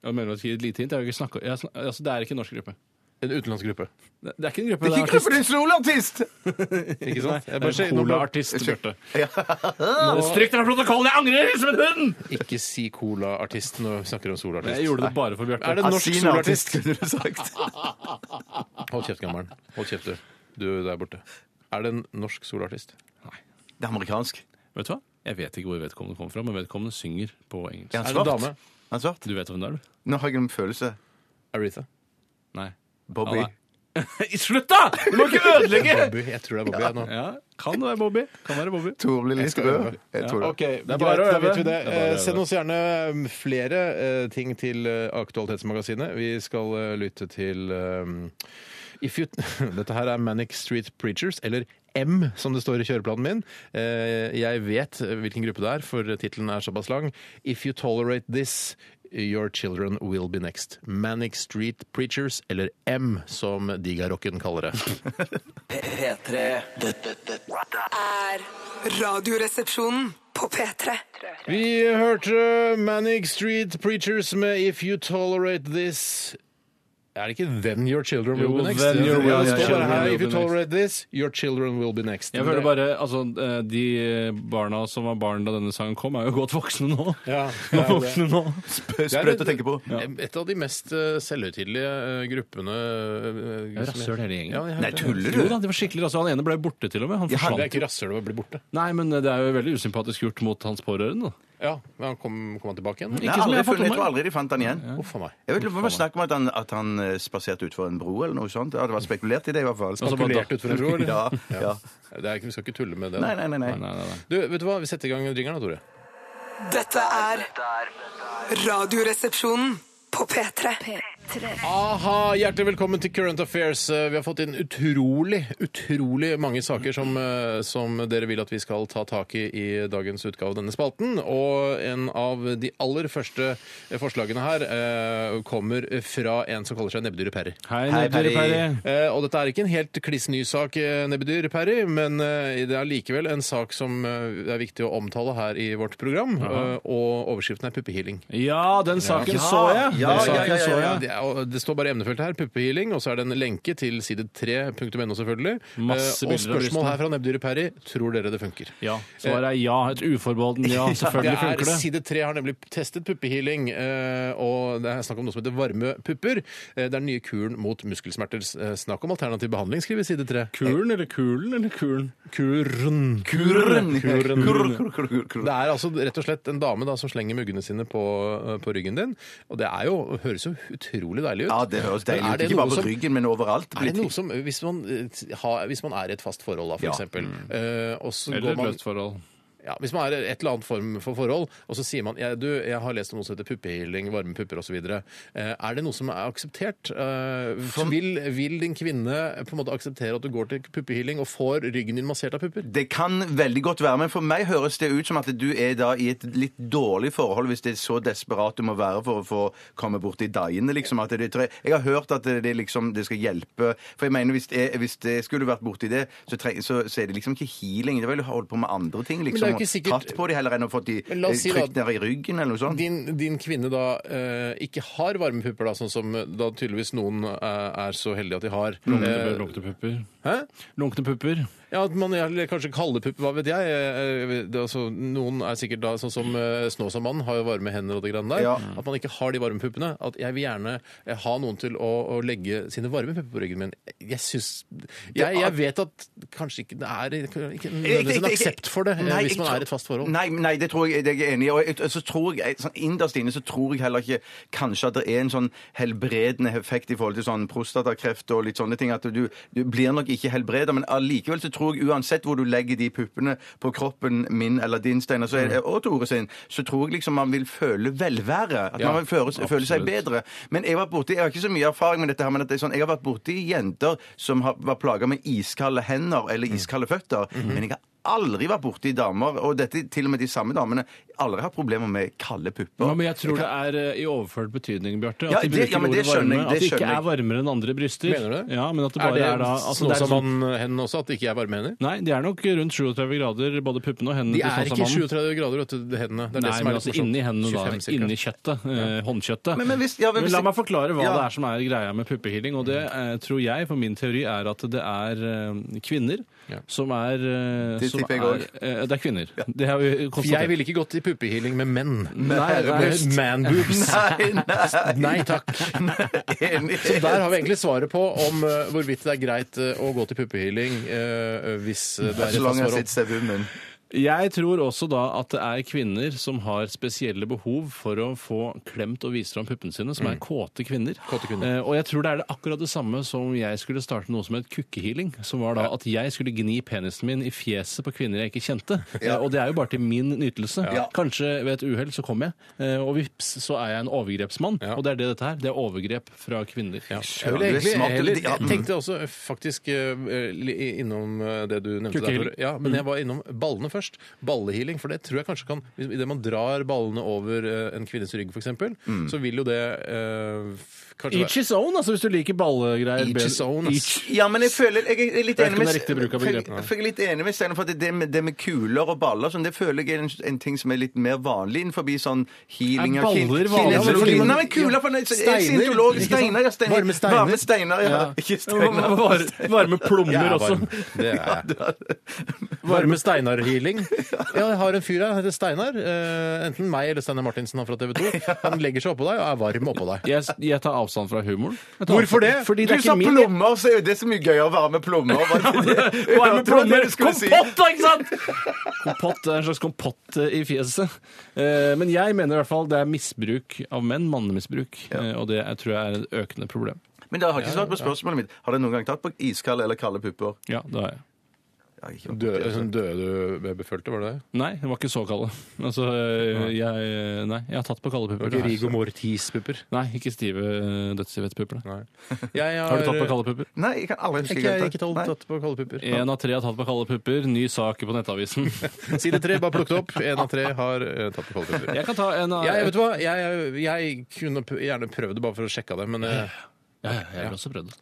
Jeg mener at jeg gir et lite hint. Jeg har jo ikke snakket, jeg, har snak- altså, det er ikke en norsk gruppe.
En utenlandsk gruppe.
Det, det er ikke en gruppe.
Det er ikke gruppe, det er en soloartist!
Ikke sant? Jeg
Det
bare
er
sier-
en
nå ble-
colaartist, Bjarte. Stryk deg fra protokollen! Jeg angrer som en hund!
Ikke si colaartist når vi snakker om
Jeg
soloartist.
gjorde det bare for Bjarte.
Er det norsk
Asinaartist,
soloartist?
kunne du sagt.
Hold kjeft, gammelen. Hold kjeft, du. Du der borte. Er det en norsk soloartist?
Det er amerikansk.
Vet du hva? Jeg vet ikke hvor vedkommende kommer fra, men vedkommende synger på engelsk.
Er han
Er det en
svart?
dame?
Er han svart?
Du vet hvem det er, du?
Nå har jeg en følelse.
Aretha?
Nei.
Bobby.
Ja, Slutt, da! Du må ikke ødelegge!
Bobby. Jeg tror det er Bobby. jeg, nå.
Ja, kan det være Bobby. Kan være Bobby.
Torle Listrød. Jeg tror det.
Ok, det
er
er greit,
bare å
da
øve.
vet vi det.
Det er bare å
Eh,
øve.
Send oss gjerne mm, flere eh, ting til eh, Aktualitetsmagasinet. Vi skal eh, lytte til eh, if you, Dette her er Manic Street Preachers, eller M, som det står i kjøreplanen min. Eh, jeg vet hvilken gruppe det er, for tittelen er såpass lang. If you tolerate this Your children will be next. Manic Street Preachers, eller M, som digarocken kaller det.
P3 Dette, dette
Er radioresepsjonen på P3.
Vi hørte Manic Street Preachers med If You Tolerate This. Er det ikke Then Your Children Will
Jo,
Be Next?
Then
Det
Your
står bare
Children
her,
Will
If You
Be Next.
Tolerate This, Your Children Will Be Next.
Jeg føler bare, altså, eh, De barna som var barn da denne sangen kom, er jo godt voksne nå.
Ja,
De
det er
er
det.
voksne nå.
Sprøtt å tenke på.
Et av de mest eh, selvhøytidelige eh, gruppene eh, som-
Rasshøl hele gjengen.
Ja, jeg hørte
Nei,
det.
tuller
Jo
du?
da, de var skikkelig altså, Han ene ble borte, til og med. Han
Ja, han
Det
forsvant.
er ikke rasshøl å bli borte.
Nei, men eh, det er jo veldig usympatisk gjort mot hans pårørende. da.
Ja, men han kom, kom han tilbake igjen?
Nei,
som
aldri
jeg har fått
funnet- jeg
om
tror aldri de fant han igjen.
Uff a meg.
Jeg vet ikke om det var snakk om at han, at han eh, spaserte utfor en bro eller noe sånt. Ja, det var spekulert i det i hvert fall.
Altså, bare
Kulert utfor en bro, eller?
Ja, ja.
Det er, ikke- vi skal ikke tulle med det.
Nei,
da.
nei, nei. nei.
Nei, nei, nei.
Du, vet du hva? Vi setter i gang jingeren da, Tore.
Dette er radioresepsjonen på P3.
Aha, hjertelig velkommen til Current Affairs. Eh, Vi har fått inn utrolig, utrolig mange saker som, eh, som dere vil at vi skal ta tak i i dagens utgave av denne spalten. Og en av de aller første eh, forslagene her eh, kommer fra en som kaller seg Nebbedyret Perry.
Hei,
Hei, Perry.
Nebdyr Perry.
Eh, og dette er ikke en helt klissny sak, eh, Nebbedyr Perry, men eh, det er likevel en sak som eh, er viktig å omtale her i vårt program. eh, og overskriften er puppehealing.
Ja, den saken
Ja.
så jeg!
Ja,
Den
ja,
saken
ja, ja,
så jeg.
ja.
Det, er, og det står bare i emnefeltet her, puppehealing, og så er det en lenke til side 3.no, selvfølgelig. Eh,
Masse
og
bilder av
spørsmål
brystene.
her fra nebbdyret Perry. Tror dere det funker?
Ja, Svaret er ja. Et uforbeholden ja.
Det
Selvfølgelig
er,
funker det.
side 3 har nemlig testet puppehealing, eh, og det er snakk om noe som heter varme pupper. Eh, Det er den nye kuren mot muskelsmerter. Eh, Snakk om alternativ behandling, skriver side 3.
Kulen eller kulen eller kulen?
Kuren.
Kurren!
Kuren.
Kurr, kurr, kurr, kurr, kurr.
Det er altså rett og slett en dame da, som slenger muggene sine på, på ryggen din. Og det er jo, høres jo utrolig deilig ut.
Ja, det høres
Men
deilig
er
ut.
det
Ikke
noe
bare på
som-
ryggen, men overalt.
Er det noe som, hvis man, eh, t- har, hvis man er i et fast forhold, da, for
Ja.
eksempel eh, og så
Mm. Eller
går
et
man,
løst forhold.
ja, Hvis man er i et eller annet form for forhold, og så sier man jeg, du, jeg har lest om noe som heter puppehealing, varme pupper osv. Eh, Er det noe som er akseptert? Eh, vil, vil din kvinne på en måte akseptere at du går til puppehealing og får ryggen din massert av pupper?
Det kan veldig godt være, men for meg høres det ut som at du er da i et litt dårlig forhold hvis det er så desperat du må være for å få komme bort i dagene, liksom. At det, tror jeg- jeg har hørt at det, det liksom det skal hjelpe. For jeg mener, hvis det, hvis det skulle vært borti det, så, treng, så, så er det liksom ikke healing. Det er vel å holde på med andre ting,
det er jo
liksom. og
ikke sikkert-
Tatt på det heller enn å få de eh,
Men la oss si da-
trykt ned i ryggen eller noe sånt.
Din, din kvinne da eh, ikke har varme pupper, da, sånn som da tydeligvis noen eh, er så heldige at de har. Eh,
Lunkne pupper.
hæ?
Lunkne pupper.
Ja, at man eller kanskje kalde pupper, hva vet jeg. Eh, Det, er altså, noen er sikkert da sånn som eh, Snåsamannen har jo varme hender og det greiene der.
Ja.
At man ikke har de varme puppene. At jeg vil gjerne eh, ha noen til å, å legge sine varme pupper på ryggen min. Jeg syns jeg, jeg vet at kanskje ikke det er ikke Mm. nødvendigvis en aksept for det eh,
Nei, jeg
hvis man
tror-
er i et fast forhold.
Nei, nei det tror jeg det er jeg enig i. Og jeg- så tror jeg, sånn Innerst inne så tror jeg heller ikke kanskje at det er en sånn helbredende effekt i forhold til sånn prostatakreft og litt sånne ting. At du, du blir nok ikke helbreda, men allikevel så tror jeg uansett hvor du legger de puppene på kroppen min eller din, Steinar, så er
Mm.
det- og Tore sin, så tror jeg liksom man vil føle velvære. At
Ja,
man vil føle, føle seg
absolutt.
bedre. Men jeg, var borti, jeg har ikke så mye erfaring med dette, her, men at det er sånn, jeg har vært borti jenter som har, var plaga med iskalde hender eller
Mm.
iskalde føtter.
Mhm.
Men jeg har aldri vært borti damer, og dette til og med de samme damene, aldri har problemer med kalde pupper.
Ja, men jeg tror det er eh, i overført betydning, Bjarte.
Ja,
At de
det-
bruker
ja, men det
ordet
skjønner
varme.
jeg, det
At det ikke
skjønner
er
jeg.
varmere enn andre bryster.
Mener du det?
Ja, men at det bare er, da altså, det er sånn-
Snåsamannen-hendene også, at det ikke er varmehender?
Nei, de er nok rundt 37 grader, både puppene og hendene.
De
til
er ikke
Snåsamannen.
37 grader, vet du, hendene. Det er
Nei,
det som er
men
litt
altså
morsomt.
inni hendene, da.
25 cirka.
Inni kjøttet. eh, Håndkjøttet.
Men- men hvis- ja, men hvis-
la meg forklare hva
Ja.
det er som er greia med puppehealing. Og det eh, tror jeg, for min teori, er at det er eh, kvinner
Ja.
som er eh,
Det
som
tipper jeg
er-
også.
eh, Det er kvinner. Det har vi
Jeg
konstatert.
ville ikke gått i puppehealing med menn.
Nei, det er-
Man boobs.
Nei, nei.
Nei takk.
Enig.
Så der har vi egentlig svaret på om eh, hvorvidt det er greit eh, å gå til puppehealing eh, hvis eh, du er i
Så langt
fast
jeg
forhold.
sitter seg i munnen.
Jeg tror også da at det er kvinner som har spesielle behov for å få klemt og vist fram puppene sine, som er kåte kvinner.
Kåte kvinner.
Eh, og jeg tror det er det akkurat det samme som jeg skulle starte noe som het kukkehealing. Som var da at jeg skulle gni penisen min i fjeset på kvinner jeg ikke kjente. Eh, og det er jo bare til min nytelse. Kanskje ved et uhell så kommer jeg, eh, og vips så er jeg en overgrepsmann.
Ja.
Og det er det dette her. Det er overgrep fra kvinner.
Jeg, ville
Ja, du er
egentlig,
smart,
heller,
eller- ja,
jeg
mm.
tenkte også eh, faktisk eh, li- innom eh, det du nevnte der.
Kukkehealing.
Tore. Ja, men jeg var innom ballene først. Ballehealing. For det tror jeg kanskje kan Idet man drar ballene over eh, en kvinnes rygg, f.eks.,
Mm.
så vil jo det eh, f- kanskje
Each his own, altså hvis du liker ballegreier.
Each his own, ass.
Each
Ja, men jeg føler Jeg er litt
Jeg
enig
vet ikke om
med
det er riktig bruk av
for jeg-
begrepet, nei.
for jeg er litt enig med Steinar, for at det, med- det med kuler og baller sånn, det føler jeg er en, en ting som er litt mer vanlig innenfor sånn healing
Er
og kin-
baller vanlig?
kinesologi.
Ja, men-
Nei, men kuler for nei, så-
Steiner,
scientolog-
ikke sant?
Steiner, ja, steiner.
Varme steiner.
Varme steiner, ja.
Ja.
Ikke steiner.
Varme, varme plommer
Jeg er
også.
varm. Det er jeg. Varme Steinar-healing. Ja, jeg har en fyr her, han heter Steinar. Eh, enten meg eller Steinar Martinsen han fra TV 2. Han legger seg oppå deg og er varm oppå deg.
Jeg, jeg tar avstand fra humoren. Jeg tar
Hvorfor det?
avstand- Fordi det
Du
er ikke
sa
min
plommer, så er jo det så mye gøyere å være med plommer. var det det?
Varme
Jeg tror det
plommer!
du skulle si.
Kompott, da, ikke sant?! Kompott det er en slags kompott eh, i fjeset. Eh, Men jeg mener i hvert fall det er misbruk av menn. Mannemisbruk. Eh, Og det er- tror jeg er et økende problem.
Men dere har ikke svart på spørsmålet mitt. Har dere noen gang tatt på iskalde eller kalde pupper?
Ja, det har jeg.
Ja, ikke- altså.
Døde, sånn døde du befølte, var det det?
Nei, det var ikke så kalde. Altså, eh, jeg, nei, jeg har tatt på kalde pupper.
Ikke Riggo
Nei.
Mortis-pupper.
Nei, ikke stive eh, dødsivete pupper. nei.
Har
Har du tatt på kalde pupper?
Nei, jeg kan aldri huske
Ikke, jeg har
jeg
ikke
har
tatt,
tatt.
tatt på kalde pupper.
Én av tre har tatt på kalde pupper. Ny sak på Nettavisen.
Side tre, bare plukket opp. Én av tre har eh, tatt på kalde pupper.
Jeg kan ta en av
Jeg, vet du hva? Jeg, jeg kunne p- gjerne prøvd det bare for å sjekke det, men eh,
Ja, ja, jeg har også prøvd det.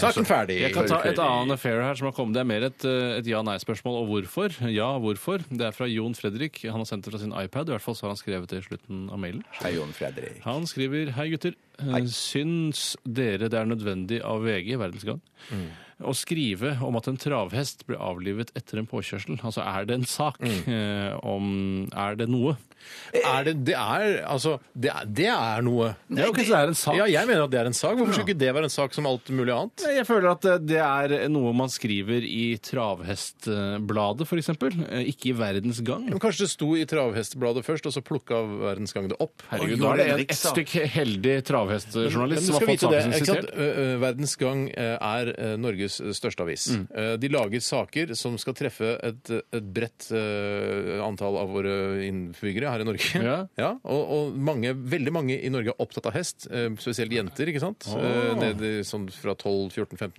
saken ferdig.
Jeg kan ta et annet affair her som har kommet. Det er mer et, eh, et ja-nei-spørsmål og hvorfor. Ja, hvorfor? Det er fra Jon Fredrik. Han har sendt det fra sin iPad. I hvert fall så har han skrevet det i slutten av mailen.
Hei, Jon Fredrik.
Han skriver Hei, gutter. Eh, Syns dere det er nødvendig av VG, Verdensgang, å skrive om at en travhest ble avlivet etter en påkjørsel? Altså, er det en sak eh, om Er det noe?
Er det, det er altså Det er, det er noe.
Ja, ok, så det er en sak.
Ja, jeg mener at det er en sak. Hvorfor skulle ikke det være en sak som alt mulig annet?
Jeg føler at eh, det er noe man skriver i Travhestbladet, f.eks. Ikke i Verdens Gang.
Men kanskje det sto i Travhestbladet først, og så plukka Verdens Gang det opp.
Herregud,
Og
da er det
Johan
en, et
Rikstad.
stykk heldig travhestjournalist
Men du
som har
skal
fått
vite det,
saken sin
ikke sant?
sitert.
Ø, ø, Verdens Gang ø, er ø, Norges største avis. Ø, De lager saker som skal treffe et, et bredt ø, antall av våre innbyggere her i Norge.
Ja.
og og mange, veldig mange i Norge er opptatt av hest, ø, spesielt jenter, ikke sant? Ø, Nede i sånn fra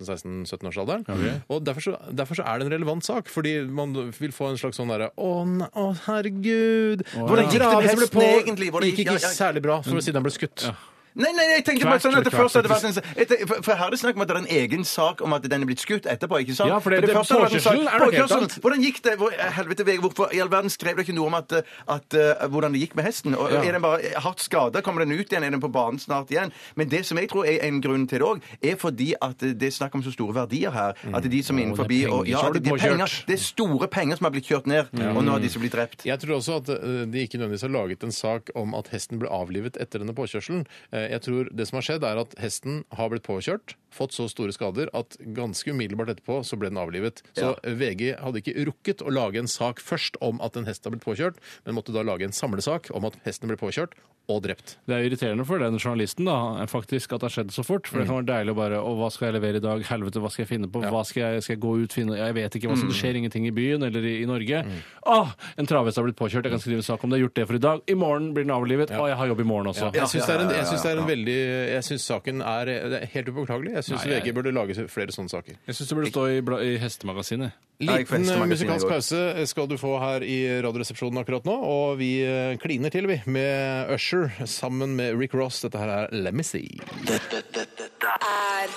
12-14-15-16-17-årsalderen. Og derfor så, derfor så er det en relevant sak, fordi man vil få en slags sånn derre Å, nei, å, herregud!
Hvordan gikk det med
Graves ble
hesten
på-
egentlig? Hvordan
gikk
gikk-
ikke
ja, ja.
særlig bra, for å si den ble skutt.
Nei, nei, jeg tenkte bare
Kvert,
sånn at det
kvert,
først hadde vært en jeg tenker- For for her er det snakk om at det er en egen sak om at den er blitt skutt etterpå, ikke sant?
Ja, for det- det-
første hadde vært en sak-
påkjørselen er noe helt
påkjørselen,
annet.
Hvordan gikk det? Hvor, helvete, Vegard, hvorfor i all verden skrev dere ikke noe om at, at eh, hvordan det gikk med hesten? Og, Er den bare hardt skada? Kommer den ut igjen? Er den på banen snart igjen? Men det som jeg tror er en grunn til det òg, er fordi at det er snakk om så store verdier her. At de som er innenfor
Mm. det er penger.
og ja,
Så har du
det, det, er
påkjørt. Mm.
penger, det er store penger som har blitt kjørt ned, og nå har disse blitt drept.
Jeg tror også at eh, de ikke nødvendigvis har laget en sak om at hesten ble avlivet etter denne påkjørselen. Eh, Jeg tror det som har skjedd, er at hesten har blitt påkjørt, fått så store skader at ganske umiddelbart etterpå så ble den avlivet. Så VG hadde ikke rukket å lage en sak først om at en hest har blitt påkjørt, men måtte da lage en samlesak om at hesten ble påkjørt og drept.
Det er jo irriterende for den journalisten da, faktisk at det har skjedd så fort. For det kan være deilig å bare Å, hva skal jeg levere i dag? Helvete, hva skal jeg finne på? Hva skal jeg, skal jeg gå ut, finne Jeg vet ikke hva som det skjer. Ingenting i byen eller i, i Norge. Åh, en travhest har blitt påkjørt. Jeg kan skrive en sak om det. Jeg har gjort det for i dag. I morgen blir den avlivet. Å, jeg har jobb i morgen også.
Jeg syns det er en, jeg synes det er en veldig Jeg syns saken er, det er helt upåklagelig. Jeg syns
Nei, jeg-
VG burde lage flere sånne saker.
Jeg syns det burde stå i, bla- i Hestemagasinet.
Ja, jeg får
Liten eh,
hestemagasinet
musikalsk
i går.
pause skal du få her i Radioresepsjonen akkurat nå. Og vi eh, kliner til, vi, med Usher sammen med Rick Ross. Dette her er Let Me See.
Dette, dette, dette
er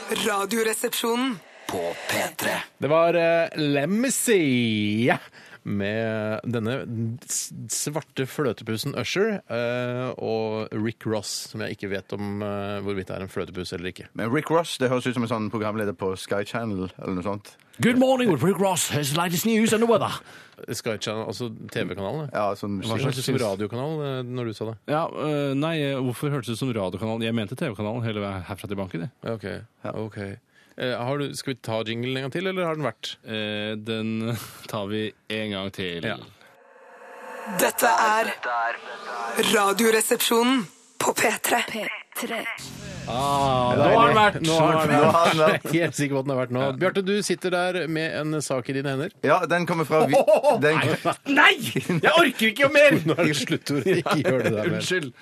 Radioresepsjonen.
på P3.
Det var eh, Let Me See ja, med denne s- svarte fløtepussen Usher eh, og Rick Ross, som jeg ikke vet om eh, hvorvidt er en fløtepuss eller ikke.
Men Rick Ross, det høres ut som en sånn programleder på Sky Channel eller noe sånt.
Good morning with Rick Ross. His latest news and the weather.
Sky Channel, altså TV-kanalen? det.
Ja, sånn
Hva
musikk.
slags som radiokanal eh, når du sa det?
Ja, øh, nei, hvorfor hørtes det ut som radiokanalen? Jeg mente TV-kanalen hele veien herfra til banken. jeg.
Ja, Ok, ok. Eh, har du, skal vi ta jinglen en gang til, eller har den vært?
Eh, den tar vi en gang til.
Ja.
Dette er Radioresepsjonen på P3.
Ah, nå har den vært!
Nå har den vært.
Nå har den vært.
Jeg er helt sikker på at den har vært nå. Bjarte, du sitter der med en sak i dine hender.
Ja, den kommer fra vi... den...
Nei! Jeg orker ikke mer!
Nå er det sluttord. Ikke gjør det der mer.
Unnskyld.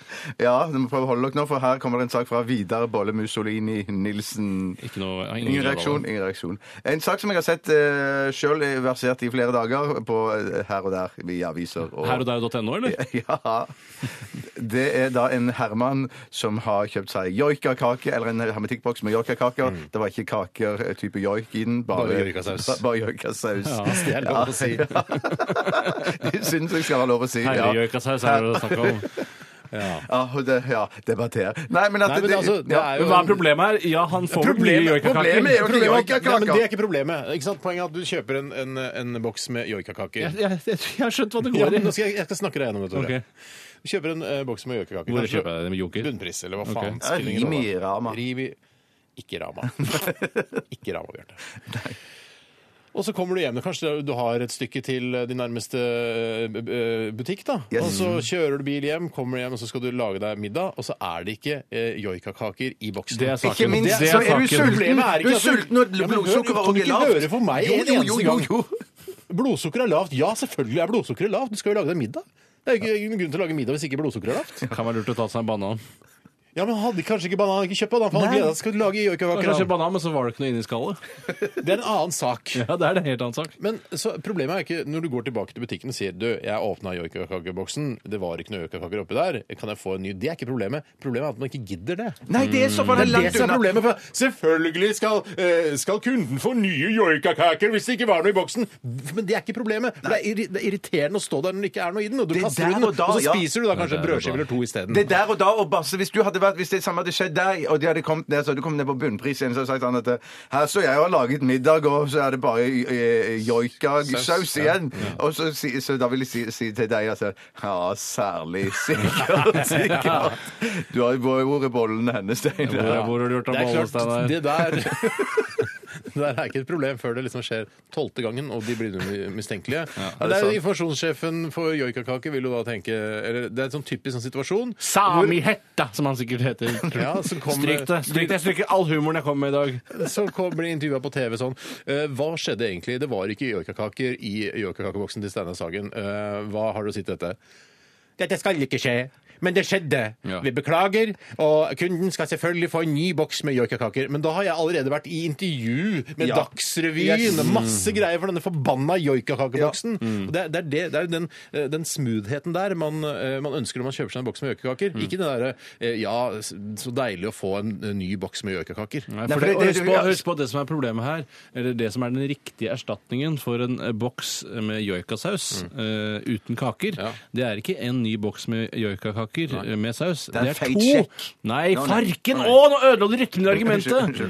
Ja, du må prøve å holde dere nå, for her kommer det en sak fra Vidar Bolle Mussolini Nilsen.
Ikke noe,
Ingen reaksjon. ingen reaksjon. En sak som jeg har sett uh, sjøl versert i flere dager på eh, her og der i aviser. Og...
Her og der.no, eller?
Ja. Det er da en herremann som har kjøpt seg joikakake, eller en hermetikkboks med joikakaker. Det var ikke kaker eh, type joik i den, bare,
Mm. Bare joikasaus.
ba- Bare joikasaus.
Ja,
det er lov å si.
Ja. det syns jeg skal være lov å si. Ja.
Herregjøkasaus er det å snakke om.
Ja, og det, ja, debatter. Nei, men at
Nei, men
det-
altså, det
ja.
er jo
Men hva er problemet her? Ja, han får vel mye
Problemet- problemet er
joikakaker.
jo-
Problemet var-
joikakaker.
Nei, men det er ikke problemet. Ikke sant? Poenget er at du kjøper en, en, en boks med
Jeg,
joikakaker.
jeg, jeg, jeg har skjønt hva det
Ja,
går i.
men nå skal jeg, jeg skal snakke deg gjennom det, Tore.
Ok.
Du kjøper en eh, boks med joikakaker.
Hvor
Kanskje-
kjøper jeg det med joker?
Bunnpris, eller hva faen.
Ok.
spiller ingen
Rimi
rolle.
Rama.
Rimi Ikke Rama. ikke Rama, Bjarte. Og så kommer du hjem. Kanskje du har et stykke til din nærmeste eh, b- eh, butikk. da.
Yes. Mm.
Og så kjører du bil hjem, kommer hjem, og så skal du lage deg middag, og så er det ikke eh, joikakaker i boksen.
Det er saken.
Ikke minst
Det er
så er du
saken.
sulten,
Problemet er
du
ikke
er
at du-
sulten og
Ja, men hør,
blodsukkeret
kan du
er
ikke
lavt.
høre for meg
Jo,
en
jo,
eneste
jo,
gang.
jo.
Blodsukkeret er lavt. Ja, selvfølgelig er blodsukkeret lavt. Du skal jo lage deg middag. Det er jo ikke ingen grunn til å lage middag hvis ikke blodsukkeret er lavt.
Kan være lurt å ta seg en banan.
Ja, men hadde kanskje ikke banan ikke kjøpt banan, for han
Nei.
gledet seg til å lage joikakaker.
Kanskje
han.
banan, men så var det ikke noe inni skallet.
Det er en annen sak.
Ja, det er det helt annen sak.
Men så problemet er ikke når du går tilbake til butikken og sier du, jeg åpna joikakakeboksen, det var ikke noe joikakaker oppi der, kan jeg få en ny? Det er ikke problemet. Problemet er at man ikke gidder det.
Nei, det er så for
Mm. Det er
det er
det
langt
som er
unna.
problemet. For selvfølgelig skal, eh, skal kunden få nye joikakaker hvis det ikke var noe i boksen. Men det er ikke problemet. For det er, irri- det er irriterende å stå der når det ikke er noe i den, og du
Det er
kaster
der
den,
og
og,
da,
så
ja.
spiser du da kanskje en
Det er der og
brødskive
da.
eller to isteden.
Det er der og da, og Basse, hvis, du hadde vært, hvis det samme hadde skjedd deg, og de hadde kommet ned, så hadde du kommet ned på bunnpris igjen, så hadde jeg sagt han at her står jeg og har laget middag, og så er det bare eh, joikasaus igjen. Og så, si- så da vil jeg si, si til deg, altså, ja, særlig sikkert, sikkert. Du har jo vært bollene hennes, Steinar.
Hvor, hvor har du gjort av
Det er klart,
Bollestad der?
det der Det der er ikke et problem før det liksom skjer tolvte gangen, og de blir mi- mistenkelige.
det er
det er
sant.
Informasjonssjefen for joikakake vil jo da tenke eller Det er en sånn typisk sånn situasjon.
Sami Hetta, som han sikkert heter.
Ja, så kommer,
Stryk det. Stryk det. Stryk all humoren jeg kom med i dag.
så kom- blir intervjua på TV sånn eh, Hva skjedde egentlig? Det var ikke joikakaker i joikakakeboksen til Steinar Sagen. Eh, hva har du å si til dette? Dette skal ikke skje. Men det skjedde.
Ja.
Vi beklager. Og kunden skal selvfølgelig få en ny boks med joikakaker. Men da har jeg allerede vært i intervju med
Ja.
Dagsrevyen.
Yes.
og Masse greier for denne forbanna joikakakeboksen. Og Det, er- det, er det, det er jo den, eh, den smoothheten der man, eh, man ønsker når man kjøper seg en boks med joikakaker.
Mm.
Ikke det derre eh, Ja, s- så deilig å få en eh, ny boks med joikakaker.
Nei,
Nei, for
for
det,
det-
og
det-
husk, på,
ja.
husk på at det som er problemet her, eller det som er den riktige erstatningen for en eh, boks med joikasaus
Mm.
eh, uten kaker,
Ja.
det er ikke en ny boks med joikakaker eh, med saus.
er
Det er,
feit
to!
sjekk.
Nei,
Å, nei.
farken!
Å,
Å,
nei.
nå ødela du rytmen i
Unnskyld,
argumentet!
unnskyld.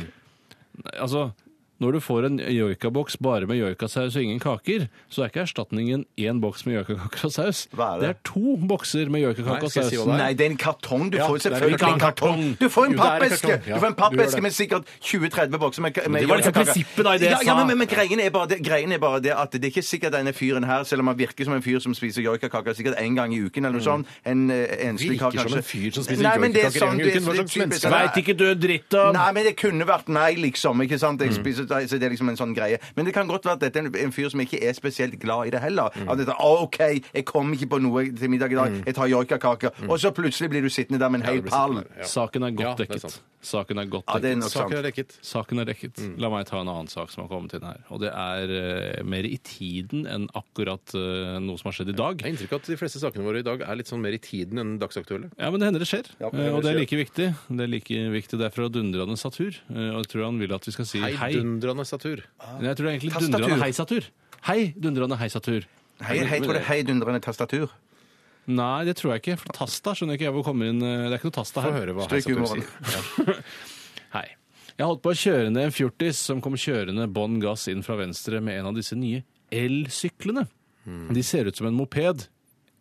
Nei, Altså, Når du får en joikaboks bare med joikasaus og ingen kaker, så er ikke erstatningen én boks med joikakaker og saus.
Hva er det?
Det er to bokser med joikakaker
Nei,
og
skal jeg
saus.
si hva det
Nei, det er en kartong. Du
Ja,
får
det er
selvfølgelig
ikke en
en kartong.
kartong.
Du får en
Jo, det er en
pappeske
kartong, ja.
Du får en
Du gjør
pappeske
det.
med sikkert 20-30 bokser med, med
det var liksom
jordkaker.
prinsippet da i det jeg
ja, ja,
sa.
men, men, men greien, er bare det, greien er bare det at det er ikke sikkert denne fyren her, selv om han virker som en fyr som spiser joikakaker sikkert en gang i uken eller noe sånt en, eh, enslig
Mm. Virker
kar,
som
kanskje.
en fyr som spiser
Nei, men det er
joikakaker en
sånn-
gang i
det er
uken. Hva slags
typisk-
menneske?
Nei,
Veit ikke du dritt om
Nei, men det kunne vært nei, liksom. ikke sant? Jeg spiser, så det er liksom en sånn greie. Men det kan godt være at dette er en- en fyr som ikke er spesielt glad i det heller. At dette, «Å, OK, jeg kom ikke på noe til middag i dag, jeg tar joikakaker. Og så plutselig blir du sittende der med en hel pall.
Saken er
Ja,
godt
det er
dekket.
sant.
Saken er godt
Ja, det er
dekket.
nok sant.
Saken er dekket.
Saken er dekket. La meg ta en annen sak som har kommet inn her. Og det er eh, mer i tiden enn akkurat eh, noe som har skjedd i dag.
Jeg har inntrykk av at de fleste sakene våre i dag er litt sånn mer i tiden enn dagsaktuelle.
Ja, men det hender det skjer.
Ja, det hender
Eh, og det er
det
like viktig. Det er like viktig det er fra dundrende Satur. Eh, Og jeg tror han vil at vi skal si hei.
Hei, dundrende statur.
Nei, Jeg tror det er egentlig
Tastatur.
dundrende heisatur. Hei, dundrende heisatur.
Hei, hei, tror du det er heidundrende tastatur?
Nei, det tror jeg ikke. For Tasta skjønner ikke jeg hvor kommer inn eh, Det er ikke noe Tasta
Få
her.
høre hva
Stryk
heisatur
humoren.
sier.
Hei. Jeg holdt på å kjøre ned en fjortis som kom kjørende bånn gass inn fra venstre med en av disse nye elsyklene. De ser ut som en moped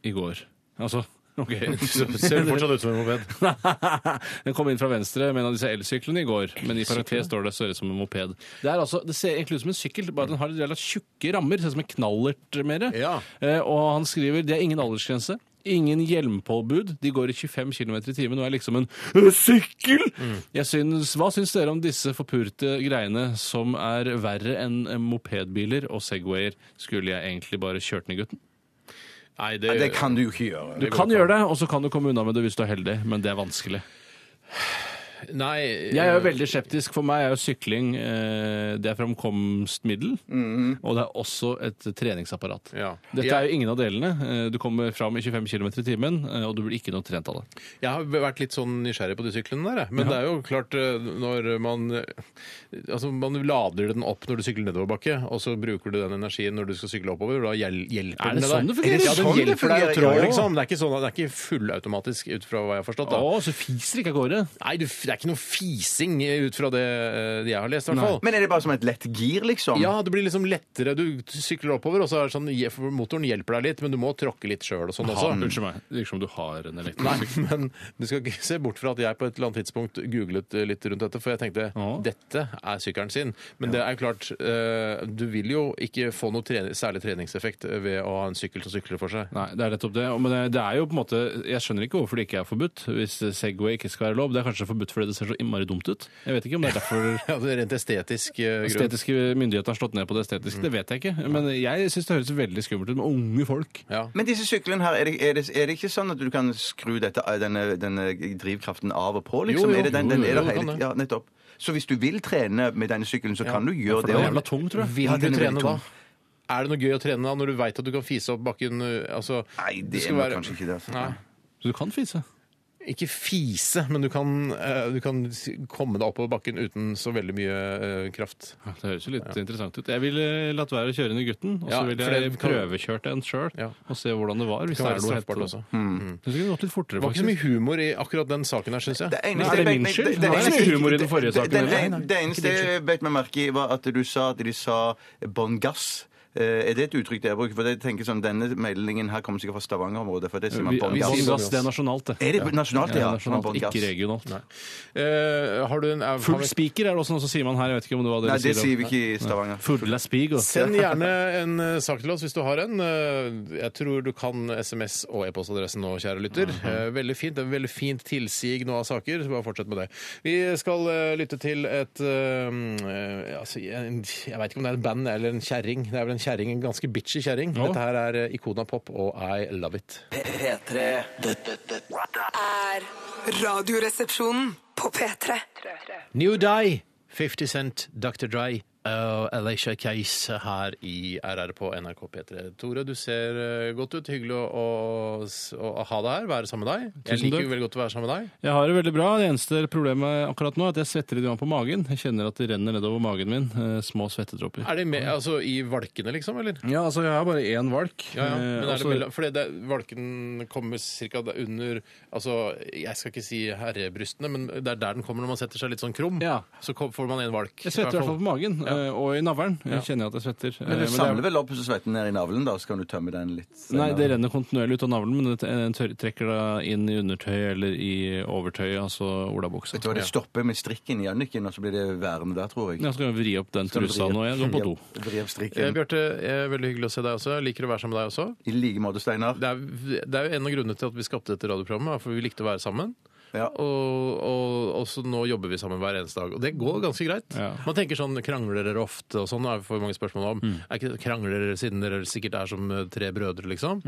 i går. Altså, OK.
Så Ser du fortsatt ut som en moped?
Den kom inn fra venstre med en av disse elsyklene i går, men i parentes står det ser ut som en moped. Det, er altså, det ser egentlig ut som en sykkel, bare at den har litt relativt tjukke rammer, ser ut som en knallert mer.
Ja.
Eh, og han skriver det er ingen aldersgrense. Ingen hjelmpåbud. De går i 25 km i timen og er liksom en «Øh, sykkel! Jeg syns, hva syns dere om disse forpurte greiene som er verre enn eh, mopedbiler og Segwayer? Skulle jeg egentlig bare kjørt ned gutten?
Nei,
Ja, det kan du jo ikke gjøre.
Du kan gjøre det, og så kan du komme unna med det hvis du er heldig, men det er vanskelig.
Nei, eh,
Jeg er jo veldig skeptisk. For meg er jo sykling eh, det er framkomstmiddel. Og det er også et treningsapparat.
Ja.
Dette
Jeg-
er jo ingen av delene. Eh, Du kommer fram i 25 km i timen, eh, og du blir ikke noe trent av det.
Jeg har vært litt sånn nysgjerrig på de syklene der, jeg. men det er jo klart eh, når man eh, Altså, man lader den opp når du sykler nedoverbakke, og så bruker du den energien når du skal sykle oppover, og da hjel hjelper
Er
den
det sånn det
deg.
fungerer?
Ja, den
Sånn det
hjelper deg å
fungerer,
trå,
ja.
liksom. Det er ikke, sånn, det er ikke fullautomatisk, ut fra hva jeg har forstått. Da.
Å, så fiser ikke av gårde!
Nei, du, det er ikke noe fising ut fra det eh, jeg har lest, i hvert fall.
Men er det bare som et lett gir, liksom?
Ja, det blir liksom lettere. Du sykler oppover, og så er det sånn, for motoren hjelper deg litt, men du må tråkke litt sjøl og sånn også.
Ha- Unnskyld meg. Det virker som du har en elektrisk
Nei, men du skal ikke se bort fra at jeg på et eller annet tidspunkt googlet eh, litt rundt dette, for jeg tenkte
Ja.
dette er sykkelen sin. Men det er klart, eh, du vil jo ikke få noe trening, særlig treningseffekt ved å ha en sykkel som sykler for seg.
Nei, det er nettopp det. Men det- det er jo på en måte Jeg skjønner ikke hvorfor det ikke er forbudt. Hvis Segway ikke skal være lov. Det er kanskje forbudt fordi det ser så innmari dumt ut. Jeg vet ikke om det er derfor
Ja, det er Rent estetisk eh, grunn.
estetiske myndigheter har slått ned på det estetiske. Det vet jeg ikke. Men jeg syns det høres veldig skummelt ut med unge folk.
Ja.
Men disse syklene her, er det, er, det, er det ikke sånn at du kan skru dette, eh, denne, denne drivkraften av og på, liksom?
Jo, jo.
Er det den, den,
Jo,
er det
jo,
hele,
kan det.
ja, nettopp. Så hvis du vil trene med denne sykkelen, så kan du gjøre
For
det.
den er
også.
jævla tung, tror jeg.
Vil
Ja,
du
den er veldig
trene da?
tung.
Er det noe gøy å trene da, når du veit at du kan fise opp bakken? eh, Altså,
Nei, det er
skal
nok
være-
kanskje ikke det. Altså.
Nei.
Så du kan fise.
Ikke fise, men du kan, eh, du kan s- komme deg oppover bakken uten så veldig mye eh, kraft.
Det høres jo litt interessant ut. Jeg ville latt være å kjøre inn i gutten, og
Ja,
så ville
for
jeg
det kan-
prøvekjørt en sjøl
Ja.
og se hvordan det var.
Det
Hvis det
kan være
er noe
straffbart
hett. Mm.
også.
Det skulle gått litt fortere,
Det var ikke så
faktisk.
mye humor i akkurat den saken her, syns jeg.
Det
Men
eneste
er
jeg
det min
bet-
skyld?
det-
Det var
eneste-
ikke humor i den forrige
det-
saken
det-
heller.
det- Det eneste jeg bet meg merke i, var at du sa at de sa bånn gass. Eh, Er det et uttrykk dere bruker? For jeg tenker sånn, Denne meldingen her kommer sikkert fra Stavanger-området. for det sier man
Vi,
bånn
vi sier
gass.
gass, det er nasjonalt, det.
Er det nasjonalt,
det
ja?
er nasjonalt,
Bånn gass.
ikke regionalt.
Eh, har du en, er, har
Full
vi-
spiker er det også noe som sier man her. Jeg vet ikke om det var det
Nei,
dere
det sier
sier.
vi ikke i Stavanger.
Fulla spig. og-
Send gjerne en eh, sak til oss hvis du har en. Eh, Jeg tror du kan SMS og e-postadressen nå, kjære lytter. Eh, Veldig fint. Det er veldig fint tilsig nå av saker, så bare fortsett med det. Vi skal eh, lytte til et eh, eh, altså, en- Jeg veit ikke om det er et band eller en kjerring. Det er vel en kjerring, en ganske bitchy kjerring.
Ja.
Dette her er eh, Ikona Pop og I Love It.
P3 Dette
er Radioresepsjonen på P3.
New Day, 50 Cent, Dr. Dry og Alicia Keys her i RR på NRK P3. Tore, du ser eh, godt ut. Hyggelig å, å, s- å ha deg her, være sammen med deg. Jeg
Tusen
liker
takk.
jo veldig godt å være sammen med deg.
Jeg har det veldig bra. Det eneste problemet akkurat nå er at jeg svetter litt grann på magen. Jeg kjenner at det renner nedover magen min. eh, Små svettedråper.
Er det med, altså, i valkene, liksom? eller?
Ja, altså, jeg har bare én valk.
Ja, ja. Men
Eh,
er det
altså-
mellom, fordi det, valken kommer ca. under altså, Jeg skal ikke si herrebrystene, men det er der den kommer når man setter seg litt sånn krum.
Ja.
Så kom, får man en valk.
Jeg svetter i hvert fall på magen. eh, og i navlen eh, kjenner jeg at jeg svetter. Eh,
Men du
det er-
samler vel opp svetten ned i navlen, da, så kan du tømme den litt senere.
Nei, det renner kontinuerlig ut av navlen, men det den tør- trekker da inn i undertøyet eller i overtøyet, altså olabuksa.
Vet du hva, det stopper med strikken i Anniken, og så blir det værende der, tror jeg.
Jeg skal vri opp den
Skal du
trusa
vri-
nå. Jeg går på do.
Vri opp
Eh,
strikken.
Bjarte, eh, veldig hyggelig å se deg også. Jeg liker å være sammen med deg også.
I like måte, Steinar.
Det er, det er jo en av grunnene til at vi skapte dette radioprogrammet, er for vi likte å være sammen.
Ja.
Og, og, og så nå jobber vi sammen hver eneste dag. Og det går ganske greit.
Ja.
Man tenker sånn krangler dere ofte, og sånn er det for mange spørsmål om.
Mm.
Er ikke, krangler dere siden dere sikkert er som eh, tre brødre, liksom?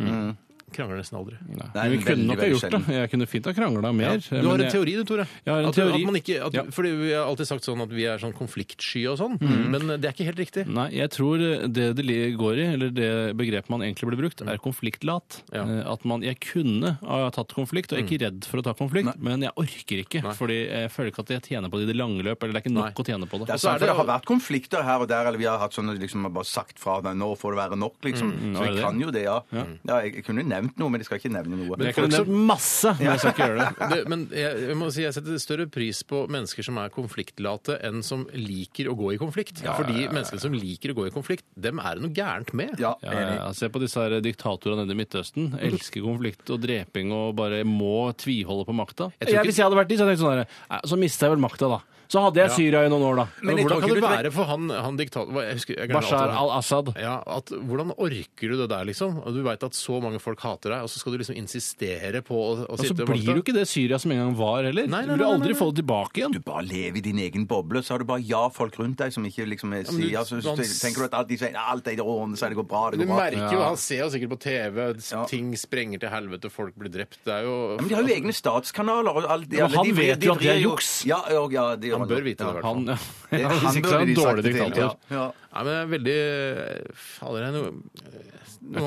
Krangler nesten aldri.
Mm. Nei,
Nei,
vi
veldig,
kunne nok ha
veldig
gjort det.
sjelden.
Jeg kunne fint ha krangla mer.
Du har en teori du, Tore.
Jeg har en
at,
teori.
At man ikke, at,
Ja.
Fordi Vi har alltid sagt sånn at vi er sånn konfliktsky og sånn,
Mm.
men det er ikke helt riktig.
Nei, jeg tror det det li- går i, eller det begrepet man egentlig burde brukt, er konfliktlat.
Ja.
Eh, At man, jeg kunne ha tatt konflikt, og jeg er ikke redd for å ta konflikt, men jeg orker ikke, fordi jeg føler ikke at jeg tjener på det i det lange løp, eller det er ikke
Nei.
nok å tjene på det.
Det, er
så er
sant, for
det-
det har vært konflikter her og der, eller vi har hatt sånne liksom har bare sagt fra deg, nå får det være nok, liksom.
Mm, nå
så
er
jeg
det
kan
det.
jo det, ja. ja jeg, jeg kunne nevnt noe, men jeg skal ikke nevne noe.
jeg kunne
folk som-
nevnt masse, men jeg skal ikke gjøre det.
Det, men jeg, jeg må si jeg setter større pris på mennesker som er konfliktlate, enn som liker å gå i konflikt. Fordi menneskene som liker å gå i konflikt, dem er det noe gærent med.
ja,
Ja,
enig.
ja, se på disse her diktatorene nede i Midtøsten.
Mm.
Elsker konflikt og dreping og bare må tviholde på makta.
Jeg tror ikke-
hvis jeg hadde vært de, så hadde jeg tenkt sånn her «Nei, Så mista jeg vel makta, da. Så hadde jeg Syria i noen år, da.
Men hvordan
jeg tror
kan det
ikke du-
være for han, han diktator... hva- Jeg husker, jeg glemmer
Bashar
alltid det.
al-Assad.
ja, at, hvordan orker du det der, liksom? Og du veit at så mange folk hater deg, og så skal du liksom insistere på å, å
Og så
sitte og
blir
makte?
jo ikke det Syria som en gang var
Nei,
heller.
nei,
du vil
nei, nei,
aldri
nei.
få det tilbake igjen.
Du bare lever i din egen boble, så har du bare ja-folk rundt deg som ikke liksom er-
men du-
sier så, så
man-
tenker du at alt de sier, alt er i orden, så det går bra, det
Du
går bra.
merker jo, Han ser jo sikkert på TV
Ja.
ting sprenger til helvete, folk blir drept. Det er jo
Men de har jo egne statskanaler. Og alt,
men han
vrir-
vet jo at det er
vrir
juks.
Ja, og, ja, det gjør
Han bør vite det, i hvert fall.
Han, ja.
Det-
han,
han burde
ikke så er
de
en
sagt
dårlig
det til,
diktator.
Ja. Ja.
Nei, men det er veldig Fader, det er noe noe-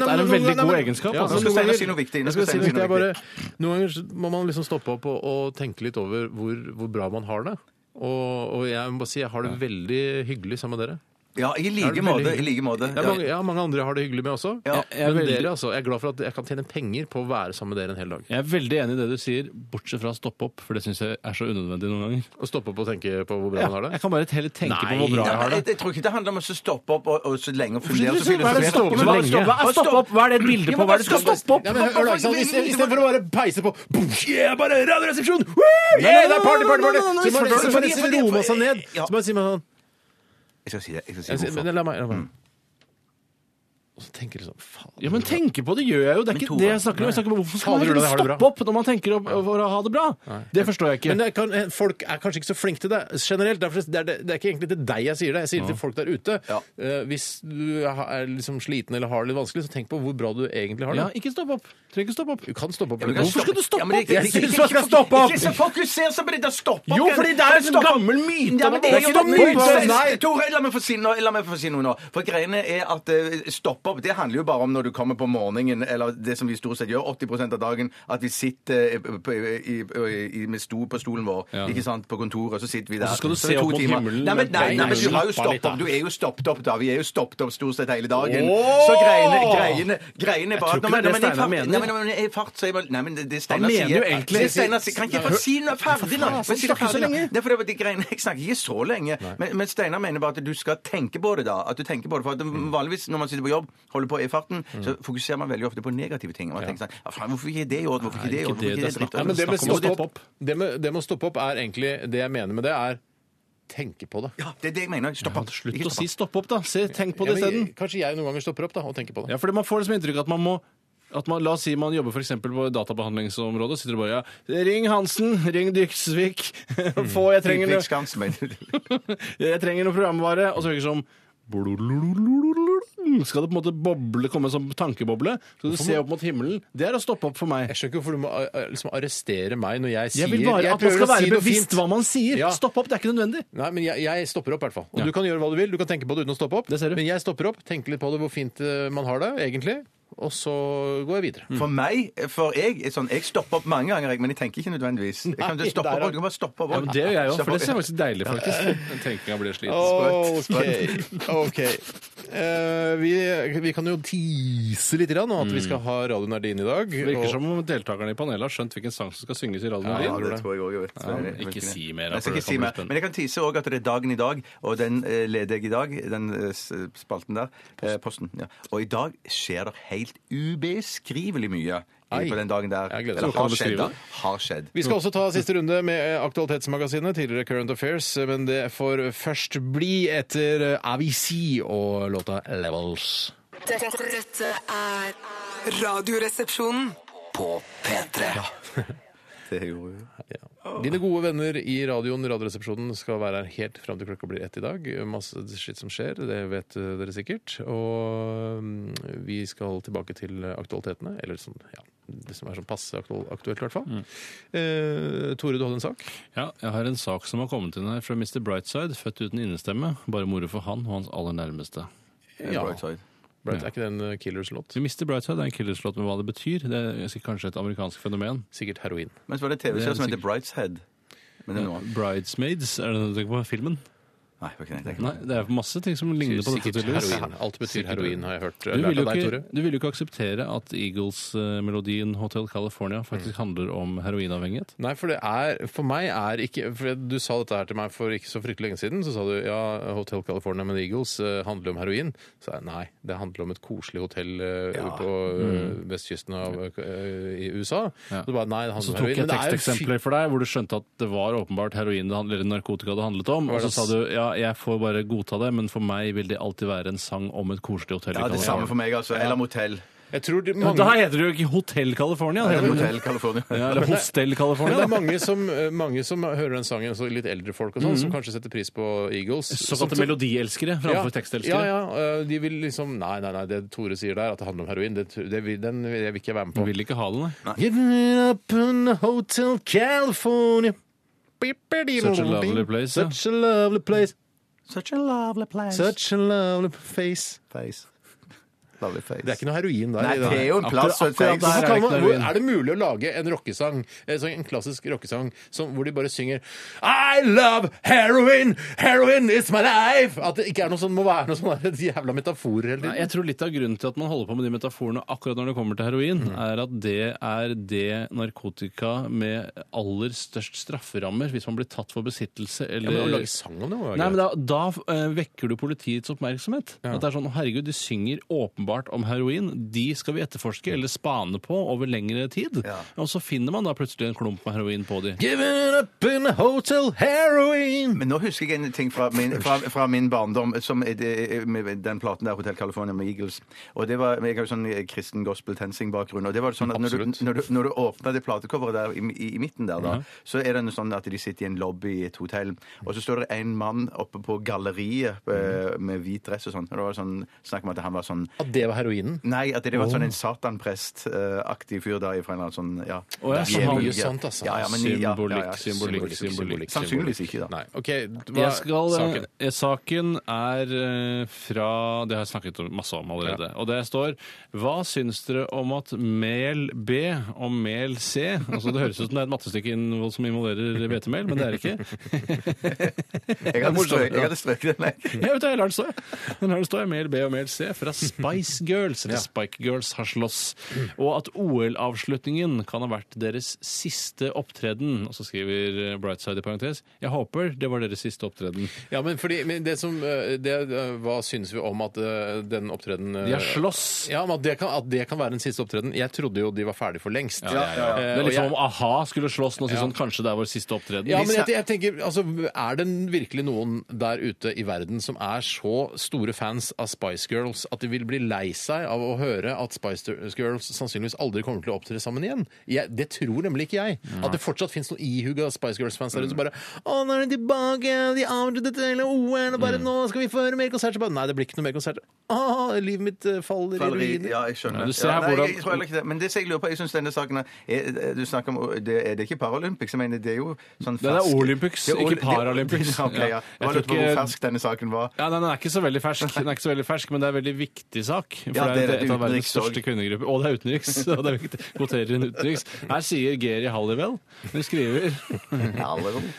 Nei, nei,
er en
nei,
veldig
nei, nei,
god
nei.
egenskap,
Ja,
altså.
men
Nå skal
noen
Steinar si
ganger-
noe viktig. Nå
Jeg
skal
skal si noe
Steinar si
viktig. Jeg bare,
noe
noen ganger så må man liksom stoppe opp og, og tenke litt over hvor, hvor bra man har det. Og, og jeg må bare si jeg har det veldig hyggelig sammen med dere.
Ja, i like
veldig
måte. I
hyggelig.
like måte.
Ja, mange, ja, mange andre jeg har det hyggelig med også.
Ja.
Jeg- jeg er
men
veldig-
dere, altså. Jeg er glad for at jeg kan tjene penger på å være sammen med dere en hel dag.
Jeg er veldig enig i det du sier, bortsett fra å stoppe opp, for det syns jeg er så unødvendig noen ganger.
Og stoppe opp og tenke på hvor bra man har det.
jeg kan bare heller tenke
Nei,
på hvor bra
Nei,
jeg har det.
jeg, jeg tror ikke det handler om å så stoppe opp og, og så lenge og
Hva
fundere. og
er det
så filosofere.
stoppe opp så
Bare
lenge? Hva er stoppe opp? Hva er det et
Ja,
bilde på?
men
Hva er det du skal
bare
Ja,
stoppe opp?
men hør, hør, da, ikke sant? I sted- i stedet for å bare peise på boom, yeah, bare Radioresepsjon! Woo! Yeah, det er party, party, party! Så må man- så må man nesten roe man seg ned.
Ja.
Så bare sier man sånn
Jeg skal si det. Jeg skal
jeg
si
sier,
hvorfor.
men, La meg la meg. Og så tenker du sånn Faen.
Ja, men tenke på det gjør jeg jo. Det er ikke
Tore,
det jeg snakker om. Jeg snakker om Hvorfor skal
Fader,
man hele
Ulla, jeg har det
tiden
bra.
stoppe opp når man tenker opp for å ha det bra? Det forstår jeg ikke.
Men det kan, eh, folk er kanskje ikke så flinke til det generelt. Derfor, det, er, det er ikke egentlig til deg jeg sier det, jeg sier det til folk der ute.
Ja.
Eh, hvis du er liksom sliten eller har det litt vanskelig, så tenk på hvor bra du egentlig har det.
Ja, ikke stopp opp. Trenger ikke stoppe opp.
Du kan stoppe opp.
Ja, men
litt.
jeg
skal du stoppe
Ja, men
opp? Jeg
ikke- ikke-
synes du skal stoppe opp!
Ikke så fokuser seg på det der stoppe opp.
Jo, fordi det er en
Stopp opp.
gammel myte.
Ja, men det er
Det
jo
er ikke noe
myte.
myte. Nei.
Tore, la meg få si noe, la meg få si noe nå. For greiene er at eh, stoppe opp, det handler jo bare om når du kommer på morgenen, eller det som vi stort sett gjør 80 av dagen, at vi sitter eh, på, i, i, i, med sto på stolen vår,
Ja.
ikke sant, på kontoret, så sitter vi der.
så skal du
er det
se
to
opp mot
timer.
himmelen
Nei, men, nei, nei, men du har jo
Slapp av litt,
stoppet
da.
opp. Du er jo stoppet opp, da. Vi er jo stoppet opp stort sett hele dagen.
Åh!
Så greiene, greiene, greiene er bare
Jeg tror ikke det er det
Nei, men-
Steinar
nei, men-
mener.
nei, men i fart så er man- Nei, men det, det Steinar
mener jo
sier
egentlig-
det Steinar sier- Kan ikke jeg få si noe ferdig nå? Men si det
sånn snakker så
ferdig nå.
lenge.
Det er fordi de greiene Jeg snakker ikke så lenge. Men, men Steinar mener bare at du skal tenke på det, da. At du tenker på det, for at
Mm.
Vanligvis når man sitter på jobb, holder på i farten, så fokuserer man veldig ofte på negative ting. Og man tenker sånn ja, faen, Hvorfor ikke det i orden? Hvorfor ikke det i orden?
ikke
Hvorfor
det
ikke det
det er snakk om.
Ja, men det med
Snakk om å
stoppe
stoppe
opp, det med, det med å stoppe opp er egentlig Det jeg mener med det, er tenke på det.
Ja, det er det jeg mener. Stopp opp.
Slutt
Ikke
å si
stopp opp.
stopp opp, da. Se, tenk på
Ja,
det
men
isteden.
jeg- kanskje jeg noen ganger stopper opp da, og tenker på det.
Ja, fordi man får liksom inntrykk av at man må at man, la oss si man jobber for eksempel på databehandlingsområdet. sitter du bare ja, 'Ring Hansen! Ring Dyksvik! Få, jeg trenger
Utvikling
noe,
Skansen, mener du.
jeg trenger noe programvare!' Og så virker det som blulululululul. Skal det på en måte boble, komme som tankeboble? Skal du se opp mot himmelen? Det er å stoppe opp for meg.
Jeg skjønner ikke hvorfor du må eh, eh, liksom arrestere meg når jeg sier
Jeg vil bare
jeg
at man
prøver
skal
å si
være
noe
bevisst
fint.
hva man sier.
Ja.
Stopp opp, det er ikke nødvendig.
Nei, men jeg, jeg stopper opp i hvert fall. Og
Ja.
du kan gjøre hva du vil. Du kan tenke på det uten å stoppe opp.
Det ser du.
Men jeg stopper opp, tenker litt på det, hvor fint eh, man har det egentlig, og så går jeg
Mm.
videre.
For meg, for jeg er sånn, jeg stopper opp mange ganger, jeg, men jeg tenker ikke nødvendigvis. Jeg kan
Nei,
jo stoppe
der er-
opp, du kan bare stoppe opp.
Ja, men det gjør jeg òg,
Stoppe
for det
opp,
ser faktisk deilig faktisk. Den tenkinga blir sliten.
OK. ok. eh, vi, vi kan jo tease litt grann, om at vi skal ha radioen er din i dag.
Det Mm. virker
og-
som om deltakerne i panelet har skjønt hvilken sang som skal synges i radioen.
Ja,
din.
det
det tror jeg òg. Jeg vet.
Ja, men
Jeg vet
ikke si mer,
Nei, Jeg skal
for det
ikke si
kan bli
mer.
spennende.
Men jeg kan tise òg at det er dagen i dag, og den eh, leder jeg i dag. Den eh, s- spalten der. eh, Posten. ja. Og i dag skjer det helt ubeskrivelig mye
Ei.
på den dagen der.
Jeg gleder meg.
Eller
Kan du
har skjedd,
beskrive
da.
det?
Har skjedd.
Vi skal også ta siste runde med eh, Aktualitetsmagasinet, tidligere Current Affairs, eh, men det får først bli etter eh, Avisi og låta Levels.
Dette, dette er Radioresepsjonen.
På P3
Det gjorde jo
Dine gode venner i radioen, Radioresepsjonen, skal være her helt fram til klokka blir ett i dag. Masse skitt som skjer, det vet eh, dere sikkert. Og mm, vi skal tilbake til aktualitetene, eller sånn, ja, det som er sånn passe aktuelt, aktuelt i hvert fall. Eh, Tore, du hadde en sak?
Ja, jeg har en sak som har kommet inn her fra Mr. Brightside, født uten innestemme. Bare moro for han og hans aller nærmeste.
Brightside.
Bright, er ikke det en eh, Killers-låt?
Så Mr. Brightside er en killerslåt med hva det betyr. Det er sikkert kanskje et amerikansk fenomen.
Sikkert heroin.
Men så var det
Det er
TV-serie som heter
sikkert-
Brightshead. Men det er noe annet.
Bridesmaids, er det det du tenker på? Filmen?
Nei, det var ikke det. jeg tenkte.
Nei, det er masse ting som ligner på dette.
Sikkert
tydeligvis.
heroin. Alt betyr
Sikkert.
heroin, har jeg hørt.
Du
Lært
vil, jo
av deg, Tore.
ikke, du vil jo ikke akseptere at Eagles-melodien Hotel California
Mm.
faktisk handler om heroinavhengighet.
Nei, for det er For meg er ikke For du sa dette her til meg for ikke så fryktelig lenge siden. Så sa du ja, Hotel California med Eagles eh, handler om heroin. Så sa jeg nei, det handler om et koselig hotell eh, på eh, vestkysten av eh, i USA.
Ja.
Så bare nei, det handler
Så
om
tok
heroin.
jeg
Men det er jo
teksteksempler for deg hvor du skjønte at det var åpenbart heroin det handlet, eller narkotika det handlet om. Og så
det
sa
s-
du ja, jeg får bare godta det, men for meg vil det alltid være en sang om et koselig hotell. i
Ja, det
California.
samme for meg, altså. Eller Motell.
fy- Jeg tror de,
Men Da
mange
heter det jo ikke Hotell California. Det
Eller
heter
Motell California.
ja, eller Hostel
men det
California.
er
da.
mange som, eh, mange som hører den sangen, så litt eldre folk og sånn, som kanskje setter pris på Eagles.
Såkalte
Som-
melodielskere
Ja.
framfor tekstelskere.
Ja, ja, øh, de vil liksom Nei, nei, nei, det Tore sier der, at det handler om heroin, det, det, vil- den vil jeg ikke være med på.
Vil ikke ha det, nei.
Give it up in Hotel California.
Such a lovely place, ja.
Such a lovely place.
Such a lovely place.
Such a lovely face.
face. Lovely face.
Det er ikke noe heroin der.
Nei,
i
det er jo en plass for
Akkurat-
et
akkurat
face.
der
Hvorfor
er det
kan
ikke
man,
noe
hvor,
heroin.
er det mulig å lage en rockesang, eh, sånn en klassisk rockesang, som, hvor de bare synger I love heroin, heroin is my life! At det ikke er noe sånn, må være noe sånn der jævla metaforer hele
Nei,
tiden.
Jeg tror litt av grunnen til at man holder på med de metaforene akkurat når det kommer til heroin,
Mm.
er at det er det narkotika med aller størst strafferammer, hvis man blir tatt for besittelse
Ja, men
eller
å lage sang om det må være
Nei,
greit.
men da, da eh, vekker du politiets oppmerksomhet. At det er sånn, herregud, De synger åpenbart om heroin. De skal vi etterforske eller spane på over lengre tid. Og så finner man da plutselig en klump med heroin på de.
Giving up in a hotel heroin.
Men nå husker jeg en ting fra min, fra, fra min barndom, som er det, eh, med den platen der, Hotel California med Eagles. Og det var, Jeg har jo sånn kristen gospel-tensing-bakgrunn. og det var sånn at Når du,
Absolutt.
når du, når du åpna det platecoveret der i, i, i midten der, da, så er det noe sånn at de sitter i en lobby i et hotell, og så står det en mann oppe på galleriet
Mhm.
eh, med hvit dress og sånn. Og det var sånn snakk om at han var sånn
At det var heroinen?
Nei, at det var sånn en satanprest-aktig fyr der fra en eller annen sånn Ja.
Å, ja, så han-
Djevel-
mye sånt, altså.
Ja, ja, men, ja, ja,
Symbolikk,
ja,
symbolikk, symbolikk.
Sannsynligvis ikke, da.
Nei. OK, hva
Jeg skal, eh,
saken?
saken. saken er eh, fra Det har jeg snakket om- masse om allerede. Og det står Hva syns dere om at mel B og mel C altså Det høres ut som det er et mattestykke innvoll- som involverer hvetemel, men det er det ikke.
Jeg hadde strøket, jeg hadde strøket den, jeg.
Jeg vet det, jeg lar den stå. jeg. Den lar den stå. jeg. Mel B og Mel C fra Spice Girls, eller Spike Girls, har slåss. Og at OL-avslutningen kan ha vært deres siste opptreden. Og så skriver Brightside i parentes Jeg håper det var deres siste opptreden.
Ja, men fordi men det som eh, det, eh, Hva syns vi om at eh, den opptredenen eh,
De har slåss.
Ja, men at det, kan, at det kan være den siste opptredenen. Jeg trodde jo de var ferdig for lengst.
Ja, ja, ja.
Eh,
Det er
og
litt som
jeg-
liksom om a-ha skulle slåss nå og si sånn Kanskje det er vår siste opptreden.
Ja, men jeg, jeg tenker, altså, Er det virkelig noen der ute i verden som er så store fans av Spice Girls at de vil bli lei seg av å høre at Spice Girls sannsynligvis aldri kommer til å opptre sammen igjen? Jeg, det tror nemlig ikke jeg. At det fortsatt fins noen ihuga Spice Girls-fans der ute som bare Å, nå er de tilbake! De avsluttet hele OL! Og bare nå skal vi føre mer konserter! Bare, Nei, det blir ikke noe mer konserter. Å, livet mitt eh, faller i
Galleri,
ruiner.
Ja, jeg skjønner.
Ja, du ser
Ja,
her
nei,
hvordan-
jeg tror heller ikke det. Men det som jeg lurer på, jeg synes denne saken er, er- Du snakker om det, Er det ikke Paralympics? Jeg mener, det er jo sånn fersk
Det er Olympics,
Det er Oli-
ikke Paralympics.
Ok, ja.
Ja.
Jeg bare
Jeg
lurte
tror
på hvor
ikke-
fersk denne saken var.
Ja, nei, Den er ikke så veldig fersk, den er ikke så veldig fersk men det er en veldig viktig sak. sak. For
Ja,
det
det
er
er
et av verdens
utenriks også.
største kvinnegrupper. Og det er utenriks! og det er viktig. Kvoterer inn utenriks. Her sier Geri Halliwell, hun skriver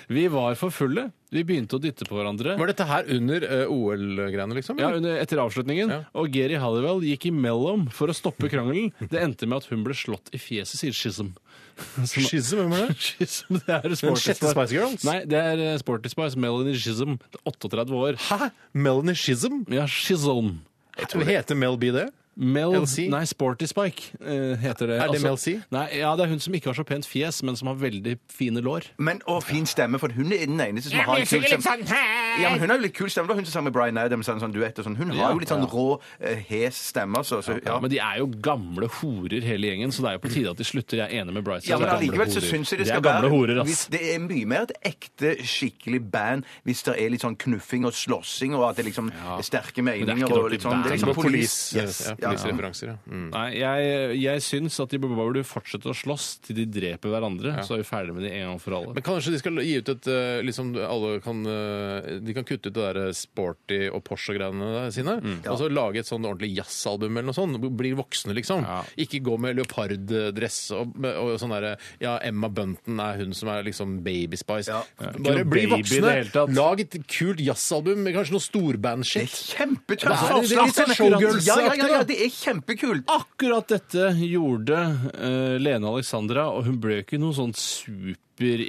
Vi var for fulle. Vi begynte å dytte på hverandre.
Var dette her under eh, OL-greiene, liksom?
Ja,
eller?
under, etter avslutningen.
Ja.
Og Geri Halliwell gikk imellom for å stoppe krangelen. Det endte med at hun ble slått i fjeset, sier Schism. Som-
Schism, hvem er det?
Schism, det er
Den
Sporty
sjette
Spice.
Spice Girls?
Nei, det er eh, Sporty Spice. Melanie Schism. Det er 38 år.
Hæ? Melanie Schism?
Ja, Schism.
Heter Mel B det?
Mel,
LC?
Nei, Sporty Spike eh, heter det.
Er det Mel C?
Nei, ja, det er hun som ikke har så pent fjes, men som har veldig fine lår.
Men, og fin stemme, for hun er den eneste som har en kul stemme. Ja, men hun har jo litt kul stemme. Det var hun som sang med Bryan Adams, en sånn duett og sånn. Hun har jo litt sånn rå, eh, hes stemme, altså. Så, ja.
Men de er jo gamle horer hele gjengen, så det er jo på tide at de slutter. Jeg er enig med Bryce.
Ja, men
Det er gamle
allikevel så
horer.
syns jeg det
er
skal
gamle
være
horer, ass.
hvis Det er mye mer et ekte, skikkelig band hvis det er litt sånn knuffing og slåssing, og at det liksom er sterke
det er
meninger
ikke
og
noe
litt sånn
band.
Det er
Som
liksom
er
police. Yes,
ja,
ja.
policereferanser, ja. Mm.
Nei, jeg, jeg syns at de bare burde fortsette å slåss til de dreper hverandre. Så er vi ferdig med det en gang for alle.
Men kanskje de skal gi ut et eh, liksom alle kan, eh, De kan kutte ut det der sporty og Porsche-greiene der sine,
Mm.
og så lage et sånn ordentlig jazzalbum eller noe sånt. Bli voksne, liksom.
Ja.
Ikke gå med leoparddress og, og sånn derre Ja, Emma Bunton er hun som er liksom Baby Spice.
Ja.
Ikke
Bare bli
noe baby i det
voksne.
hele tatt.
Lag et kult jazzalbum med kanskje noe
Det er
storbandshit.
kjempetøft!
Ja, det er litt sånn
forslag.
showgirls-aktig,
Ja, ja, ja,
da.
ja, det er kjempekult!
Akkurat dette gjorde eh, Lene Alexandra, og hun ble ikke noen sånn super
Men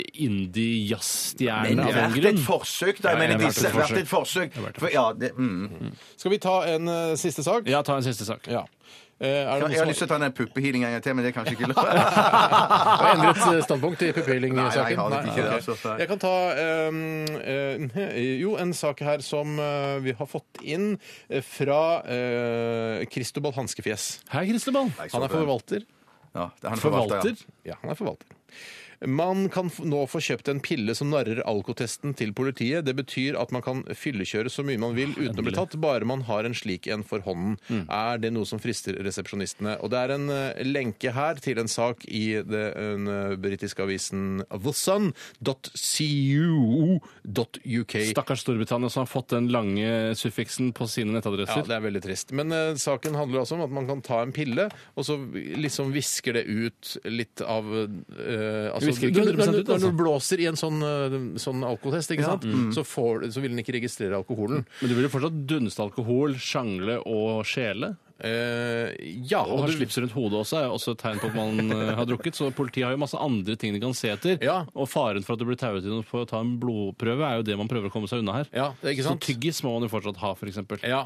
det
indie-jazzstjerne av
har
den
vært
grunn.
et forsøk, da.
Ja,
Jeg
ja,
mener,
det
disse
har
har vært et forsøk. For, ja, det, mm.
Skal vi ta en eh, siste sak?
Ja, ta en siste sak.
Ja. Eh, er det
Jeg har
noen
lyst
som
til å ta den puppehealing en gang til, men det er kanskje ikke lov.
har endret eh, standpunkt i
Nei, nei, jeg
pupilling-saken?
har nok ikke det,
ok.
altså, nei.
Jeg kan ta eh, eh, jo en sak her som eh, vi har fått inn eh, fra eh, Kristobal Hanskefjes.
Hei, Kristeball.
Han er forvalter.
Ja, det er han
Forvalter.
ja.
Ja, han er forvalter. Man kan f- nå få kjøpt en pille som narrer alkotesten til politiet. Det betyr at man kan fyllekjøre så mye man vil uten å bli tatt, bare man har en slik en for hånden. Er det noe som frister resepsjonistene? Og det er en eh, lenke her til en sak i det- den eh, britiske avisen thesun.co.uk.
Stakkars Storbritannia som har fått den lange suffiksen på sine
Ja,
nettadresser.
det er veldig trist. Men eh, saken handler altså om at man kan ta en pille, og så liksom visker det ut litt av eh, altså,
Visker
du-
100%
når,
ut,
du-
altså. Mm.
når du blåser i en sånn, eh, sånn alkoholtest, ikke sant? Så, får, du- så vil den ikke registrere alkoholen.
Men du vil jo fortsatt dunste alkohol, sjangle og skjele.
Eh, ja,
Og
og
ha
du,
slips rundt hodet også er jo også et tegn på at man eh, har drukket. Så politiet har jo masse andre ting de kan se etter.
Ja.
Og faren for at du blir tauet inn for å ta en blodprøve, er jo det man prøver å komme seg unna her.
ja, ikke
Så
sant?
tyggis må man jo fortsatt ha, f.eks. eksempel
Ja,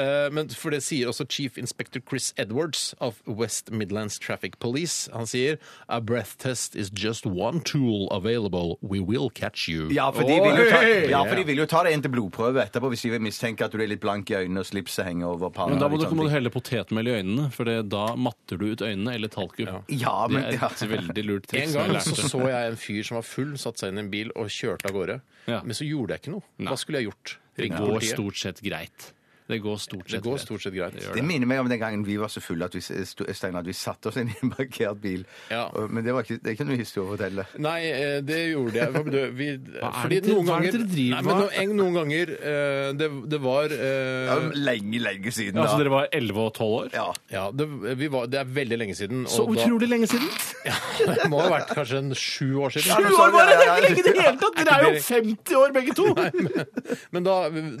eh, men for det sier også Chief Inspector Chris Edwards of West Midlands Traffic Police. Han sier A breath test is just one tool available. We will catch you.
Ja, for de vil jo ta, ja, for de vil jo ta deg inn til blodprøve etterpå hvis de vil mistenke at du er litt blank i øynene og slipset henger over liksom. panna.
Men da
og
må du,
litt
må
sånne
du
ting.
helle potetmel i øynene, for det, da matter du ut øynene eller talkum.
Ja,
Det
men
er
ja.
et veldig lurt
En
triks. som jeg
gang
lærte.
så, så jeg en fyr som var full, satte seg inn i en bil og kjørte av gårde.
Ja.
Men så gjorde jeg ikke noe. Hva skulle jeg gjort?
Det
Ringte
går
politiet?
stort sett greit. Det går stort
Det
sett
går
greit.
stort sett greit.
Det minner meg om den gangen vi var så fulle at vi, sto- Steinar, at vi satte oss inn i en parkert bil.
Ja.
Og- Men det, var ikke, det er ikke noe historie å fortelle.
Nei, eh, det gjorde jeg. Hva betyr- Vi,
er
fordi
det dere-
noen
hva er det
ganger,
dere driver
nei, men
med?
noen, noen ganger eh, det, det var eh,
Ja, Lenge, lenge siden,
Ja,
da.
altså dere var 11 og 12 år?
Ja.
ja, det, vi var, det er veldig lenge siden. og da-
lenge siden!
Det må ha vært kanskje en sju år siden.
Sju år var det! Det er ikke lenge i det
hele tatt!
Dere er jo
50 år begge to!
Men da,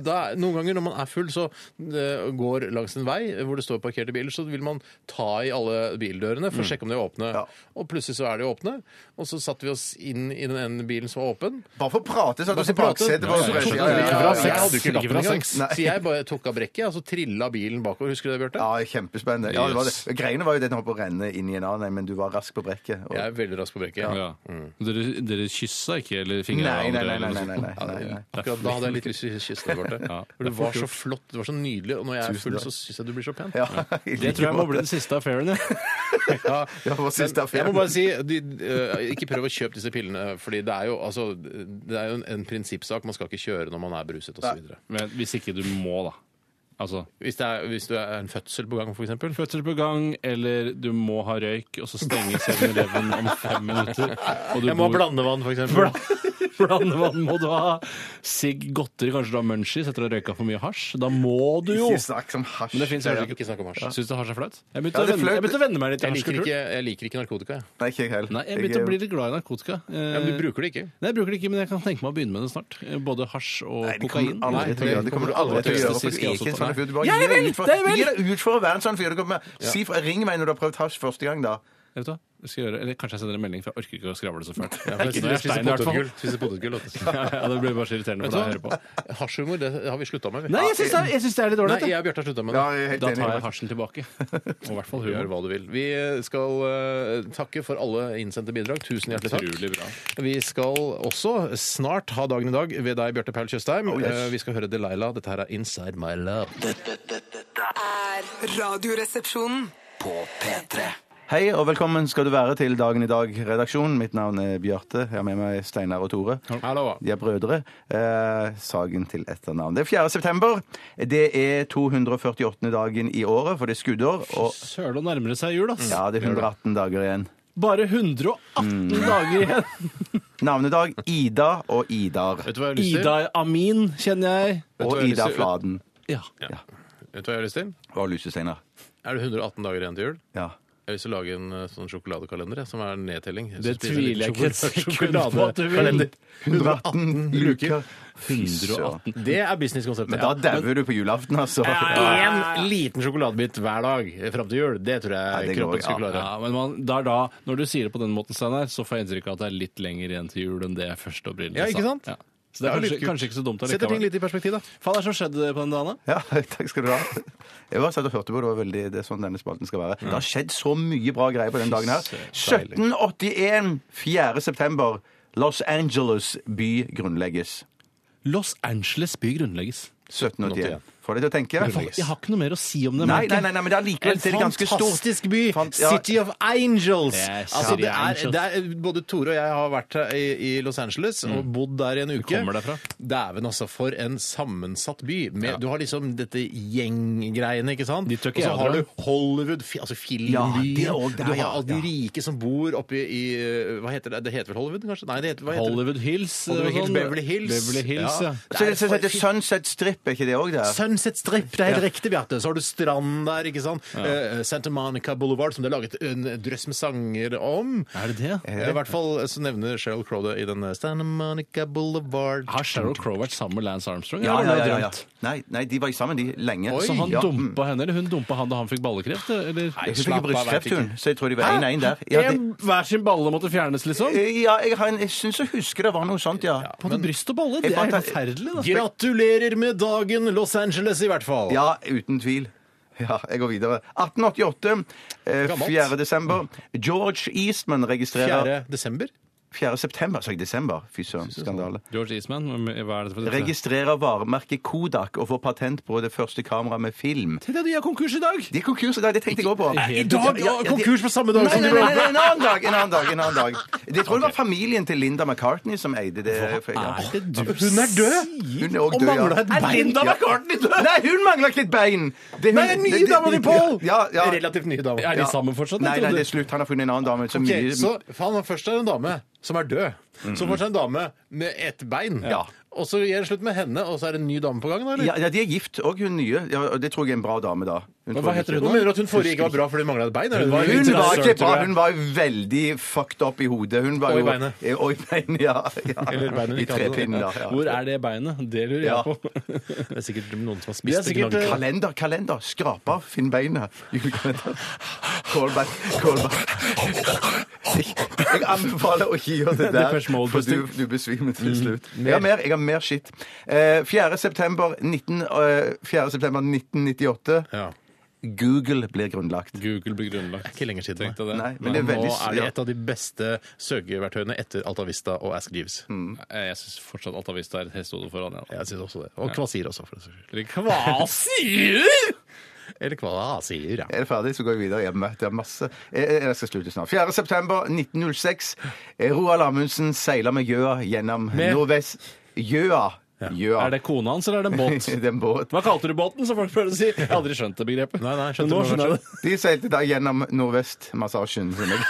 da, noen ganger når man er full, så eh, går langs en vei hvor det står parkerte biler, så vil man ta i alle bildørene for å sjekke om de er åpne.
Ja.
Og plutselig så er de åpne, og så satte vi oss inn i den ene bilen som var åpen.
Bare for å prate, satt oss i
Bare for å prate.
baksetet. på oss.
Ja, ja, ja,
Ja, ja,
Ikke
ja,
fra
ja,
seks. Jeg hadde jo
Ikke
ikke lappen
fra
engang.
seks.
Så jeg bare tok av brekket, og så trilla bilen bakover. Husker du det, Bjarte?
Ja, kjempespennende. Ja, det var det. Greiene var jo det den holdt på å renne inn i en annen, men du var rask på brekket. Og...
Jeg er veldig rask på brekket.
Ja. Dere, dere kyssa ikke eller
Mm. Nei,
fingra
nei, nei,
hverandre?
nei, nei,
eller noe
nei,
sånt?
nei, nei, nei.
Akkurat da hadde jeg litt lyst til å kysse deg, Bjarte.
Ja.
For Du var så flott, du var så nydelig, og når jeg er full,
takk.
så syns jeg du blir så pen.
Ja, i
Det
like
tror jeg må
måte.
bli den siste affæren. jeg.
Ja,
Ja, vår siste
men
affære.
Jeg må bare si, de, eh, ikke prøv å kjøpe disse pillene, fordi det er jo, altså, det er jo en, en prinsippsak. Man skal ikke kjøre når man er bruset osv.
Men hvis ikke du må, da. Altså
Hvis, det er- hvis du er en fødsel på gang, f.eks.
Fødsel på gang, eller du må ha røyk, og så stenger 7-Eleven om fem minutter. Og du
Jeg må ha
bor-
blandevann, f.eks.
Blandevann må du ha. sigg, godteri, kanskje du har munchies etter å ha røyka for mye hasj. Da må du jo!
Ikke snakk som hasj.
Men det fins
Ja, ja.
kanskje ikke
Ikke snakk om hasj.
Syns du hasj er flaut? Jeg begynte
Ja,
å
det er
venne-
flaut.
jeg begynte å venne meg litt til
Jeg
norsk
liker
kultur.
ikke, jeg liker ikke narkotika. jeg.
Nei, ikke jeg heller.
Nei, jeg begynte å bli litt glad i narkotika. Eh,
Ja, men du bruker det ikke.
Nei, jeg bruker det ikke, men jeg kan tenke meg å begynne med det snart. Eh, Både hasj og
Nei, det kommer
kokain.
du aldri til å gjøre. Det kommer du aldri til å gjøre. for du er ikke en sånn fyr. Du bare
Jeg
gir
vil!
deg ut for-
Jeg vil!
Gi deg ut for å være en sånn fyr. Du kommer- Si fra, ring meg når du har prøvd hasj første gang, da.
Jeg vet hva, jeg skal gjøre, eller Kanskje jeg sender en melding, for jeg orker ikke å skravle så fælt.
Ja,
Jeg
men
er
jeg
ikke noe
spiser
stein, i hvert fall.
potetgull. Spiser potetgull. vet du.
Ja, ja, det blir bare så irriterende for deg å høre
Vet du
på.
hva? Hasjhumor, det har vi slutta med. vi.
Nei, jeg syns det, er litt
Nei,
ålreit.
jeg og Bjarte har slutta med det.
Ja, jeg er helt
Da tar jeg
enig.
hasjen tilbake. Og i hvert fall
Gjør
humor.
hva du vil. Vi skal eh, takke for alle innsendte bidrag. Tusen hjertelig takk.
Utrolig bra.
Vi skal også snart ha dagen i dag ved deg, Bjarte Paul Tjøstheim.
Oh, yes.
Eh, Vi skal høre Delilah. Dette her er Inside My Love.
Dette, dette, dette
er Radioresepsjonen.
på P3
Hei og velkommen skal du være til Dagen i dag-redaksjonen. Mitt navn er Bjarte. Jeg har med meg Steinar og Tore.
Hallo.
De er brødre. Eh, sagen til etternavn. Det er 4. september. Det er 248. dagen i året, for det er skuddår. Og
Søren, nå nærmer det seg jul, ass.
ja, det er 118 dager igjen.
Bare 118 dager igjen!
Navnedag Ida og Idar.
Vet du hva jeg har lyst til?
Ida Amin kjenner jeg.
du hva
Og
jeg har lyst
Ida
til?
Fladen.
Ja.
Vet du hva jeg har lyst til?
Og Lyse Steinar.
Er det 118 dager igjen til jul?
Ja.
Jeg har lyst til å lage en eh, sånn sjokoladekalender jeg, som er en nedtelling. Jeg
Det
skal spise en
tviler jeg ikke et
sjokolade-
sekund på at du vil.
sjokoladekalender.
118 luker. Fy søren.
118.
Det er businesskonseptet.
Men da dauer du på julaften, altså.
Én liten sjokoladebit hver dag fram til jul, det tror jeg
Ja, det går,
kroppen skal
ja.
klare.
Ja, men man, det er da, Når du sier det på den måten, Steinar, så får jeg inntrykk av at det er litt lenger igjen til jul enn det jeg først opprinnelig
Ja, ikke sant?
Ja. Så det er
litt
kanskje,
kult.
kanskje ikke så dumt
Setter ting
allikevel.
litt i perspektiv, da.
Hva er det som skjedde på den dagen? da?
Ja, takk skal du ha. Jeg var satt og hørte på, det var veldig, det er sånn denne spalten skal være. Det har skjedd så mye bra greier på den dagen her. 1781, 4. september, Los Angeles by grunnlegges.
Los Angeles by grunnlegges.
1781. Får deg til å tenke?
Jeg har ikke noe mer å si om det.
Nei,
merker
nei,
jeg.
nei, nei, men det er likevel
En
det er ganske stort.
fantastisk by!
Fant- ja.
City of Angels!
Yes,
altså,
City
det
of
er,
Angels.
det er, både Tore og jeg har vært her i, i Los Angeles og bodd der i en uke.
Mm. kommer derfra.
Dæven, altså. For en sammensatt by. Med, Du har liksom dette gjenggreiene, ikke sant?
De tør
Og
ikke
så
jeg
har
dra.
du Hollywood, fi, altså
Ja,
filmbyen.
det er også der,
du har
ja,
alle de
ja.
rike som bor oppe i eh, Hva heter det? Det heter vel Hollywood, kanskje? Nei, det heter, hva heter det?
Hollywood Hills.
Hollywood
og
Hills,
sånn.
Beverly Hills.
Beverly Hills, ja.
Så det så heter Sunset Strip, er ikke det òg der?
Sunset Strip, det er helt riktig, Bjarte. Så har du strand der, ikke sant. Eh, Santa Monica Boulevard, som det er laget en drøss med sanger om. Eh,
Er det det?
I hvert fall så nevner Sheryl Crow det i den eh, Santa Monica Boulevard.
Har Sheryl Crow vært sammen med Lance Armstrong?
Ja,
eller
ja,
har
ja.
hun
ja.
drømt?
Nei, nei, de var sammen, de, lenge.
Så han
ja, mm.
dumpa henne, eller hun dumpa han da han fikk ballekreft? Eller?
Hun fikk brystkreft, hun, så jeg tror de var én-én der. Ja, det- Eh,
En hver sin balle måtte fjernes, liksom?
Ja, jeg, har en- jeg syns jeg husker det var noe sånt, ja.
Både bryst og balle?
Jeg
Det er
fant-
helt forferdelig, da.
Gratulerer med dagen, Los Angeles, i hvert fall.
Ja, uten tvil. Ja, jeg går videre. 1888, eh,
Gammelt.
4. desember. George Eastman registrerer
4. desember.
4. september, sa jeg desember? Fy søren, skandale.
George Eastman, hva er dette for dette?
Registrerer varemerket Kodak og får patent på det første kameraet med film.
Tenk deg, de har konkurs i dag!
De er konkurs i dag, det tenkte jeg òg på.
I dag! Ja, konkurs på samme dag
Nei,
som
nei,
du
nei,
ble
nei, en annen dag! En annen dag. en annen dag. Jeg tror det var familien til Linda McCartney som eide det. Ja.
Er det du
Hun er død!
Hun er også
Og
død, ja.
manglet et
Er
bein.
Linda McCartney død? Nei, hun mangler ikke et bein! Det er hun-
Nei, en ny
det-
dame til Paul!
Ja, ja.
Relativt nye dame.
Er de sammen fortsatt?
Nei, nei, det er slutt. Han har funnet en annen dame. Som
Ok,
mye-
så han var først er det en dame som er død. Så får seg en dame med ett bein.
Ja.
Og så gjør det slutt med henne, og så er det en ny dame på gang? da, eller?
ja, ja, de er gift, og hun nye. Ja, og det tror jeg er en bra dame, da. Hun tror
hva
jeg
heter
ikke-
Hun mener at hun forrige ikke var bra fordi hun mangla et bein? eller?
var-
Hun var ikke bra.
jeg.
Hun var veldig fucked up i hodet. Hun var
Og i
jo-
beinet.
Eh, Og i beinet, ja. ja.
Eller beinet
I
ikke hadde det.
trepinner. Ja.
Hvor er det beinet? Det lurer
Ja.
jeg på.
Det er sikkert noen som har
Det er
spist
sikkert,
gnager.
Kalender, kalender. Skrap av. Finn beinet. Julekalender. Callback, callback. Jeg anbefaler å ikke gjøre det der,
Depeche Mode
for du, du besvimer til slutt. Jeg har mer, jeg har mer skitt. Eh, 4. September, 19, eh, 4. september 1998.
Ja.
Google blir grunnlagt.
eh, Google blir grunnlagt.
Ikke lenger siden.
Tenkte det.
Nei, men det er veldig
Nå er det
ja.
et av de beste søkeverktøyene etter AltaVista og Ask Jeeves.
Jeg syns fortsatt Alta Vista er et hestehode foran. Ja.
Jeg synes også det. Og Kvasir også, for den saks skyld.
Hva sier du?!
Eller Kvasir, ja.
Er det ferdig, så går jeg videre. Jeg møter masse. Jeg, jeg jeg skal slutte snart. 4. september 1906. Roald Amundsen seiler med gjøa gjennom
Med?
nordvest... Gjøa. Gjøa.
Er det kona hans, eller er det en båt?
Det er en båt.
Hva kalte du båten, som folk prøver å si? Jeg har aldri skjønt det begrepet.
Nei, nei, skjønte
Men nå
du
skjønner jeg det.
De seilte da gjennom Nordvestmassasjen. som jeg-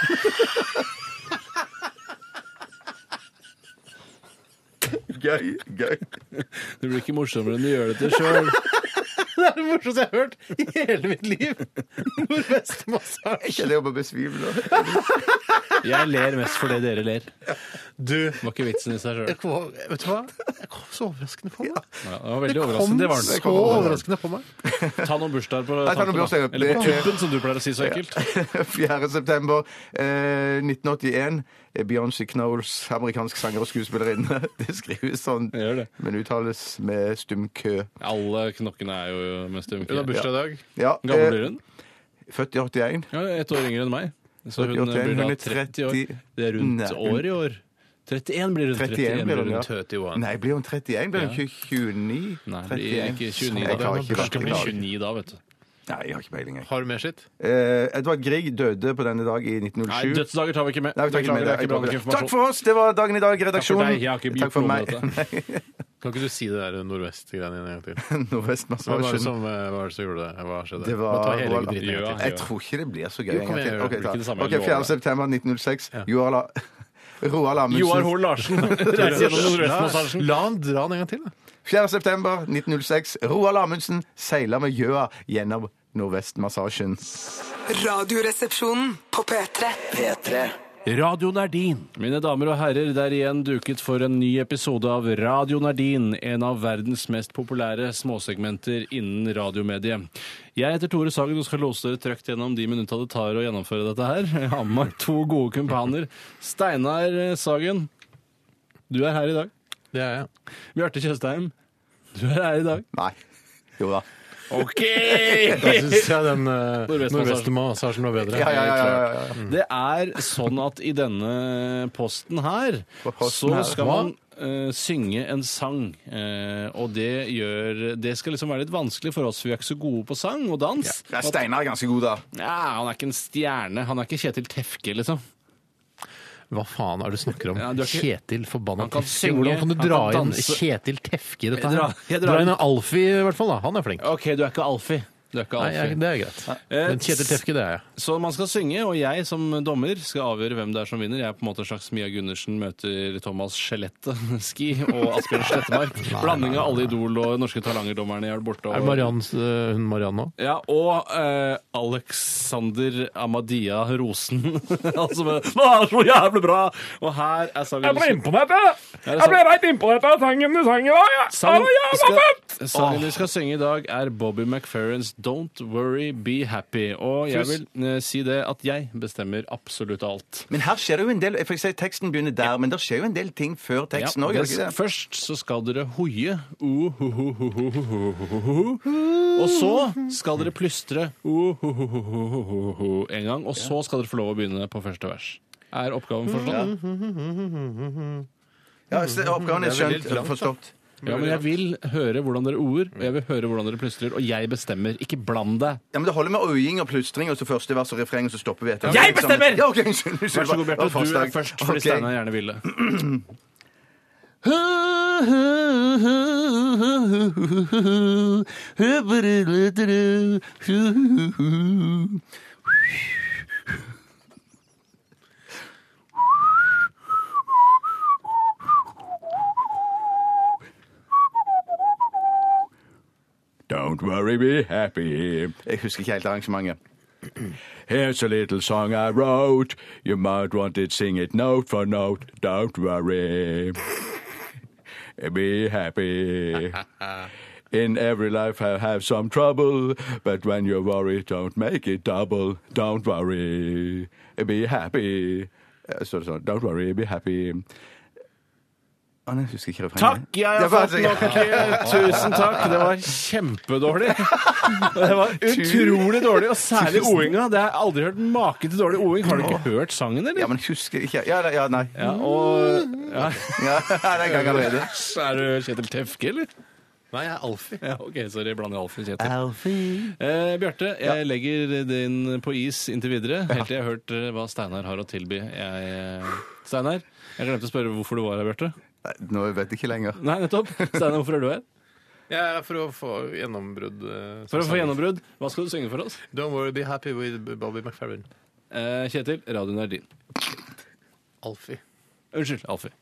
Gøy, gøy.
Det blir ikke morsommere enn du gjør det til sjøl.
Det er det morsomste jeg har hørt i hele mitt liv! Nordvestmassasje.
Jeg jobber besvimelig. nå.
Jeg ler mest fordi dere ler.
Du,
Det var ikke vitsen i seg sjøl.
jeg kom, vet du hva? Jeg kom så overraskende på meg.
Ja, det var
Det
veldig
kom
overraskende. Det var den.
så overraskende på meg.
Ta noen bursdager på
ta noen
tanten, da.
bursdager.
Eller på
Det-
tuppen, som du pleier å si så ekkelt.
4. september eh, 1981. eh, Beyoncé Knowles, amerikansk sanger og skuespillerinne. Det skrives sånn,
Jeg gjør det.
men uttales med stum kø.
Alle knokkene er jo mest
Hun har
umkje.
bursdag i dag.
Ja, eh,
Gammel blir hun?
født i 81.
Ja, Ett år yngre enn meg. Så hun
41,
eh, blir da
hun er
30 år.
30.
Det er rundt
Nei, hun-
år i år. 31 blir hun.
31 blir hun, ja.
rundt.
31.
Nei, blir hun 31? Blir hun ikke 29?
Nei, det blir ikke 29 da.
Jeg klarer
Hun
ikke
kan ikke
dette.
bli
Beklager.
29 da, vet du.
Nei, jeg har ikke peiling. jeg.
Har du mer sitt?
Eh, Edvard Grieg døde på denne dag i 1907.
Nei, dødsdager tar vi ikke med.
Nei, vi tar ikke med
Beklager,
det.
det er ikke bra nok
Jeg tar ikke- Takk
informasjon.
for oss! Det var dagen i dag, redaksjonen.
deg, jeg har ikke gjort noe med
Kan ikke du si det der nordvest-greiene en gang til? Hva var det
Nordvestmassasjen.
som, eh, hva var det som gjorde det? Hva skjedde?
Det
Bare ta
var
hele
Roald-
dritten en gang til.
Jeg tror ikke det blir så gøy.
Jo,
en
kom
gang
igjen,
til.
gjør
Ok,
det.
da.
Ikke det samme,
Ok,
jeg lover
4.
deg.
september 1906. Joar La... Roald
Joar
Amundsen.
Hoel Larsen reiser gjennom Nordvestmassasjen.
La han dra den en gang til, da.
4. september 1906. Roald Amundsen seiler med gjøa gjennom Nordvestmassasjen.
Radioresepsjonen på P3.
P3.
Radioen er din.
Mine damer og herrer, det er igjen duket for en ny episode av Radio Nardin, en av verdens mest populære småsegmenter innen radiomediet. Jeg heter Tore Sagen og skal lose dere trøkt gjennom de minutta det tar å gjennomføre dette her. Jeg har med meg to gode kumpaner. Steinar Sagen, du er her i dag.
Det er jeg.
Bjarte Tjøstheim, du er her i dag.
Nei. Jo da.
OK!
Da syns jeg den eh,
Nordvestmassasjen.
nordvestmassasjen var bedre.
Ja, ja, ja, ja, ja.
Det er sånn at i denne posten her,
På posten
så
her.
skal
Hva?
man eh, synge en sang. Eh, og det gjør Det skal liksom være litt vanskelig for oss, for vi er ikke så gode på sang og dans.
Ja, Steinar er ganske god, da.
Ja, han er ikke en stjerne. Han er ikke Kjetil Tefke, liksom.
Hva faen er det du snakker om?
Ja, du er ikke-
Kjetil forbanna
Han kan
Tefke.
synge,
Hvordan kan du
han
dra
kan
inn
danse.
Kjetil Tefke i dette her?
Jeg drar- jeg drar
Dra inn
inn-
en Alfie, i hvert fall. da. Han er flink.
OK, du er ikke Alfie. Du er ikke
Nei,
Alfie.
jeg, det er greit.
Eh,
Men Kjetil Tefke, det er jeg.
Så man skal synge, og jeg som dommer skal avgjøre hvem det er som vinner. Jeg er på en måte en slags Mia Gundersen møter Thomas Skjelette Ski og Asbjørn Slettemark. Blanding av alle Idol og norske talangerdommerne jeg har borte.
Er det
og-
Marianne, eh, hun Marianne nå?
Ja, og eh, Alexander Amadia Rosen. altså, men, det er så jævlig bra! Og her er sangen du skal-
på dette!
her er sangen-
rett innpå dette sangen du sang i dag!
sangen du skal- Sangen du skal synge i dag, er Bobby McFerrins 'Don't Worry, Be Happy'. Og jeg vil eh, si det at jeg bestemmer absolutt alt.
Men her skjer det jo en del for jeg sier Teksten begynner der, men det skjer jo en del ting før
Ja,
teksten òg.
det- først så skal dere hoie. Uhuhuhuhuhuhuhu. Og så skal dere plystre Uhuhuhuhuhuhu en gang. Og så skal dere få lov å begynne på første vers. Er oppgaven forstått?
Ja, så oppgaven er skjønt. Forstått.
Ja, men jeg vil høre hvordan dere ord, og jeg vil høre hvordan dere plystrer, og jeg bestemmer. Ikke bland deg.
Ja, men Det holder med øying og plystring, og så første vers og refreng, og så stopper vi etter.
Jeg bestemmer!
Ja, ok, unnskyld, unnskyld.
Vær så god, Bjarte.
Det var
Du er
forslag.
først, fordi
Ok.
Steinar gjerne ville.
Don't worry, be happy.
Jeg husker ikke helt arrangementet.
Here's a little song I wrote. You might want to sing it note for note. Don't worry. be happy. In every life I have some trouble, but when you worry, don't make it double. Don't worry. Be happy. Eh, Så er det sånn. Don't worry, be happy.
Å, nei, jeg husker ikke er refrenget.
Takk! Jeg har
Det var-
fått nok ikke. Tusen takk. Det var kjempedårlig. Det var utrolig dårlig, og særlig oinga. Det har jeg aldri hørt maken til dårlig oing. Har du ikke hørt sangen,
Ja,
eller?
men jeg husker ikke Ja, nei, ja, nei.
Ja, og ja.
Ja, nei, jeg kan allerede.
Er du Kjetil Tefke, eller?
Nei, jeg er Alfie.
Ja, ok, sorry, jeg blander Alfie og Kjetil. Eh, Bjarte, jeg legger den på is inntil videre, helt til jeg har hørt eh, hva Steinar har å tilby. Jeg, eh, Steinar, jeg glemte å spørre hvorfor du var her, Bjarte.
Nei, Nå vet jeg ikke lenger.
Nei, nettopp. Steinar, hvorfor er du her?
Jeg er for å få gjennombrudd. eh,
For å
som
få
sanger.
gjennombrudd. Hva skal du synge for oss?
Don't worry, be happy with Bobby McFerrin.
Eh, Kjetil, radioen er din.
Alfie.
Unnskyld, Alfie.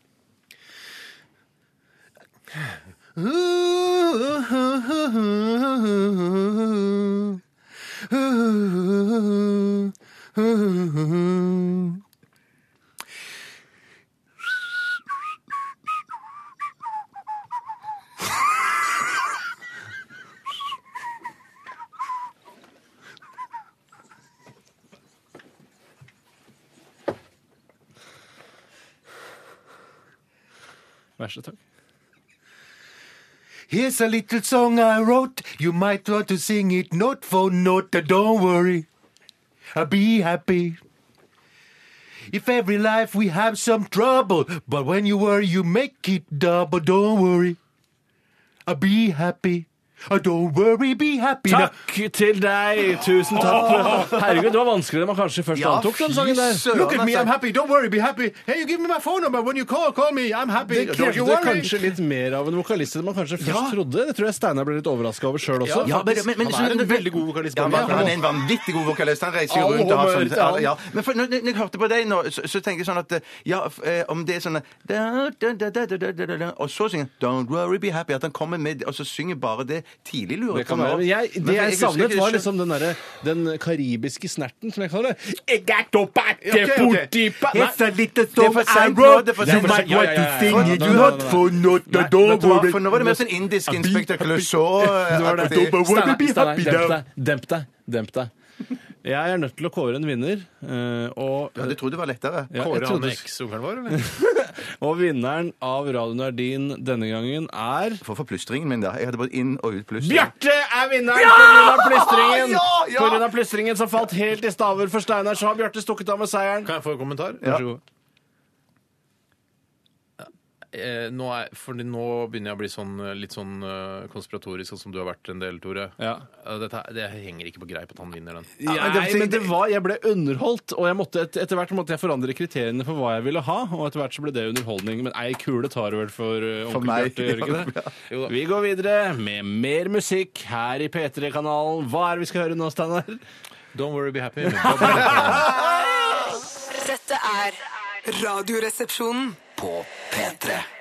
Vær så takk.
Here's a little song I wrote. You might want to sing it note for note. Don't worry, I'll be happy. If every life we have some trouble, but when you worry, you make it double. Don't worry, I'll be happy. Oh, don't worry, be happy. now.
Takk til deg! Tusen takk. for- Herregud, det var vanskeligere enn man kanskje først antok. den sangen der.
Look at
altså.
me, I'm happy. Don't worry, be happy. Hey, you give me my phone number when you call. Call me, I'm happy.
Det
Don't you
krevde
worry.
kanskje litt mer av en vokalist enn man kanskje først trodde. Det tror jeg Steinar ble litt overraska over sjøl også.
Ja, men- men- men-
han er en veldig god vokalist.
Ja,
Bård.
men han er en vanvittig god vokalist. Han reiser jo
Alle
rundt og har
humør
sånn
til han.
ja. Men for, når, når jeg hørte på deg nå, så, så tenkte jeg sånn at eh, Ja, f- eh, om det er sånn da, da, da, da, da, da, da, da, Og så synger han Don't worry, be happy. At han kommer med Og så synger bare det tidlig, lurer
Det
jeg på
kan
nå.
være. Men jeg,
Men
det jeg
husker
savnet,
ikke
var
det
liksom den derre Den karibiske snerten, som jeg kaller det. Jeg er
Ok,
topate
ok.
porti pa- Nei,
It's a little
Det er
song
for
I
sent nå,
wrote.
det er for
You
sent.
might
Ja, ja,
want
ja,
to
ja.
sing
Nei,
it
nei, nei,
not
nei, nei.
for not
skjønner-
the
Nei, vet
door.
du hva? For nå var det mer sånn indisk eh, Inspector
var det.
Clouseau-aktig.
Steinar,
Steinar,
Steinar,
Steinar,
demp deg. Demp deg. Demp deg. Jeg er nødt til å kåre en vinner, eh, og,
Ja, du trodde det var lettere?
Ja, jeg
Kåre han
trodde-
eksungeren vår, eller?
og vinneren av Radio Nardin denne gangen er
Hvorfor plystringen min, da? Jeg hadde både inn- og utplystring.
Bjarte er vinneren pga. plystringen!
Ja! Ja!
På grunn av plystringen som falt helt i staver for Steinar, så har Bjarte stukket av med seieren.
Kan jeg få en kommentar?
Ja.
god. Eh, Nå, er, fordi nå begynner jeg å bli sånn, eh, litt sånn eh, konspiratorisk, sånn som du har vært en del, Tore.
Ja.
Eh, Dette, her- det henger ikke på greip at han vinner den.
Nei, men det var, Jeg ble underholdt, og jeg måtte, et, etter hvert måtte jeg forandre kriteriene for hva jeg ville ha. Og etter hvert så ble det underholdning. Men ei kule tar du vel for uh, onkel
meg.
Bjarte? gjør du ikke det?
Jo da.
Vi går videre med mer musikk her i P3-kanalen. Hva er det vi skal høre nå, Steinar?
Don't worry, be happy.
Dette er Radioresepsjonen.
På P3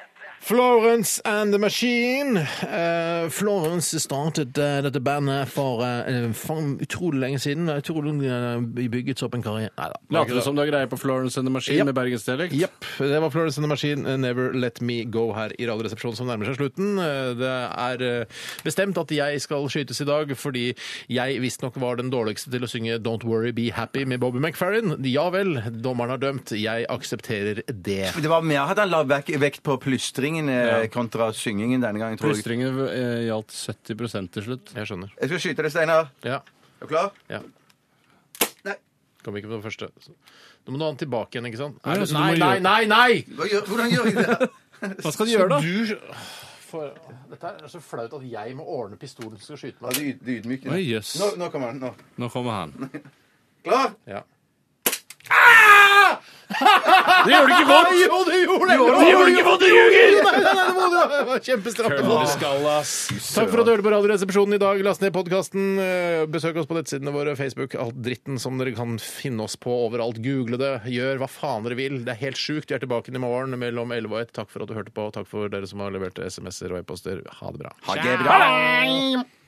Florence and the Machine. Eh, Florence startet eh, dette bandet for, eh, for utrolig lenge siden. Jeg tror hun eh, bygget seg opp en karriere Nei da.
Later du som du har greie på Florence and the Machine
Japp.
med bergensdialekt?
Jepp. Det var Florence and the Machine, eh, 'Never Let Me Go' her i Radioresepsjonen som nærmer seg slutten. Eh, Det er eh, bestemt at jeg skal skytes i dag, fordi jeg visstnok var den dårligste til å synge 'Don't Worry Be Happy' med Bobby McFerrin. Ja vel, dommeren har dømt. Jeg aksepterer det.
Det var mer at han la vek- vekt på plystringen eh, kontra syngingen denne gangen, tror jeg.
Plystringen eh, gjaldt 70 til slutt.
Jeg skjønner.
Jeg skal skyte deg, Steinar.
Ja.
Er du klar?
ja.
Nei.
Kom ikke på den første. Så- Nå må du ha den tilbake igjen, ikke sant?
Nei, altså, du
nei,
må
nei,
gjøre-
nei! nei!
Hva gjør- Hvordan gjør jeg det?
Hva skal du gjøre, da?
Du... For... Dette er så flaut at jeg må ordne pistolen som skal skyte
Ja,
meg.
det yd- det ydmyker.
Oi, jøss.
Nå, nå kommer han. Nå.
Nå kommer han.
Klar?
Ja.
Det gjør du ikke godt!
Jo, du gjorde det!
Det gjør du ikke godt, du ljuger!
Nei, nei, nei, det må du ha. Det var Kjempestraff. Takk for at du hørte på Radioresepsjonen i dag. Last ned podkasten. Besøk oss på nettsidene våre, Facebook, all dritten som dere kan finne oss på overalt. Google det. Gjør hva faen dere vil. Det er helt sjukt. Vi er tilbake i morgen mellom 11 og 1. Takk for at du hørte på. Takk for dere som har levert SMS-er og e-poster. Ha det bra.
Ha det bra.
Bye!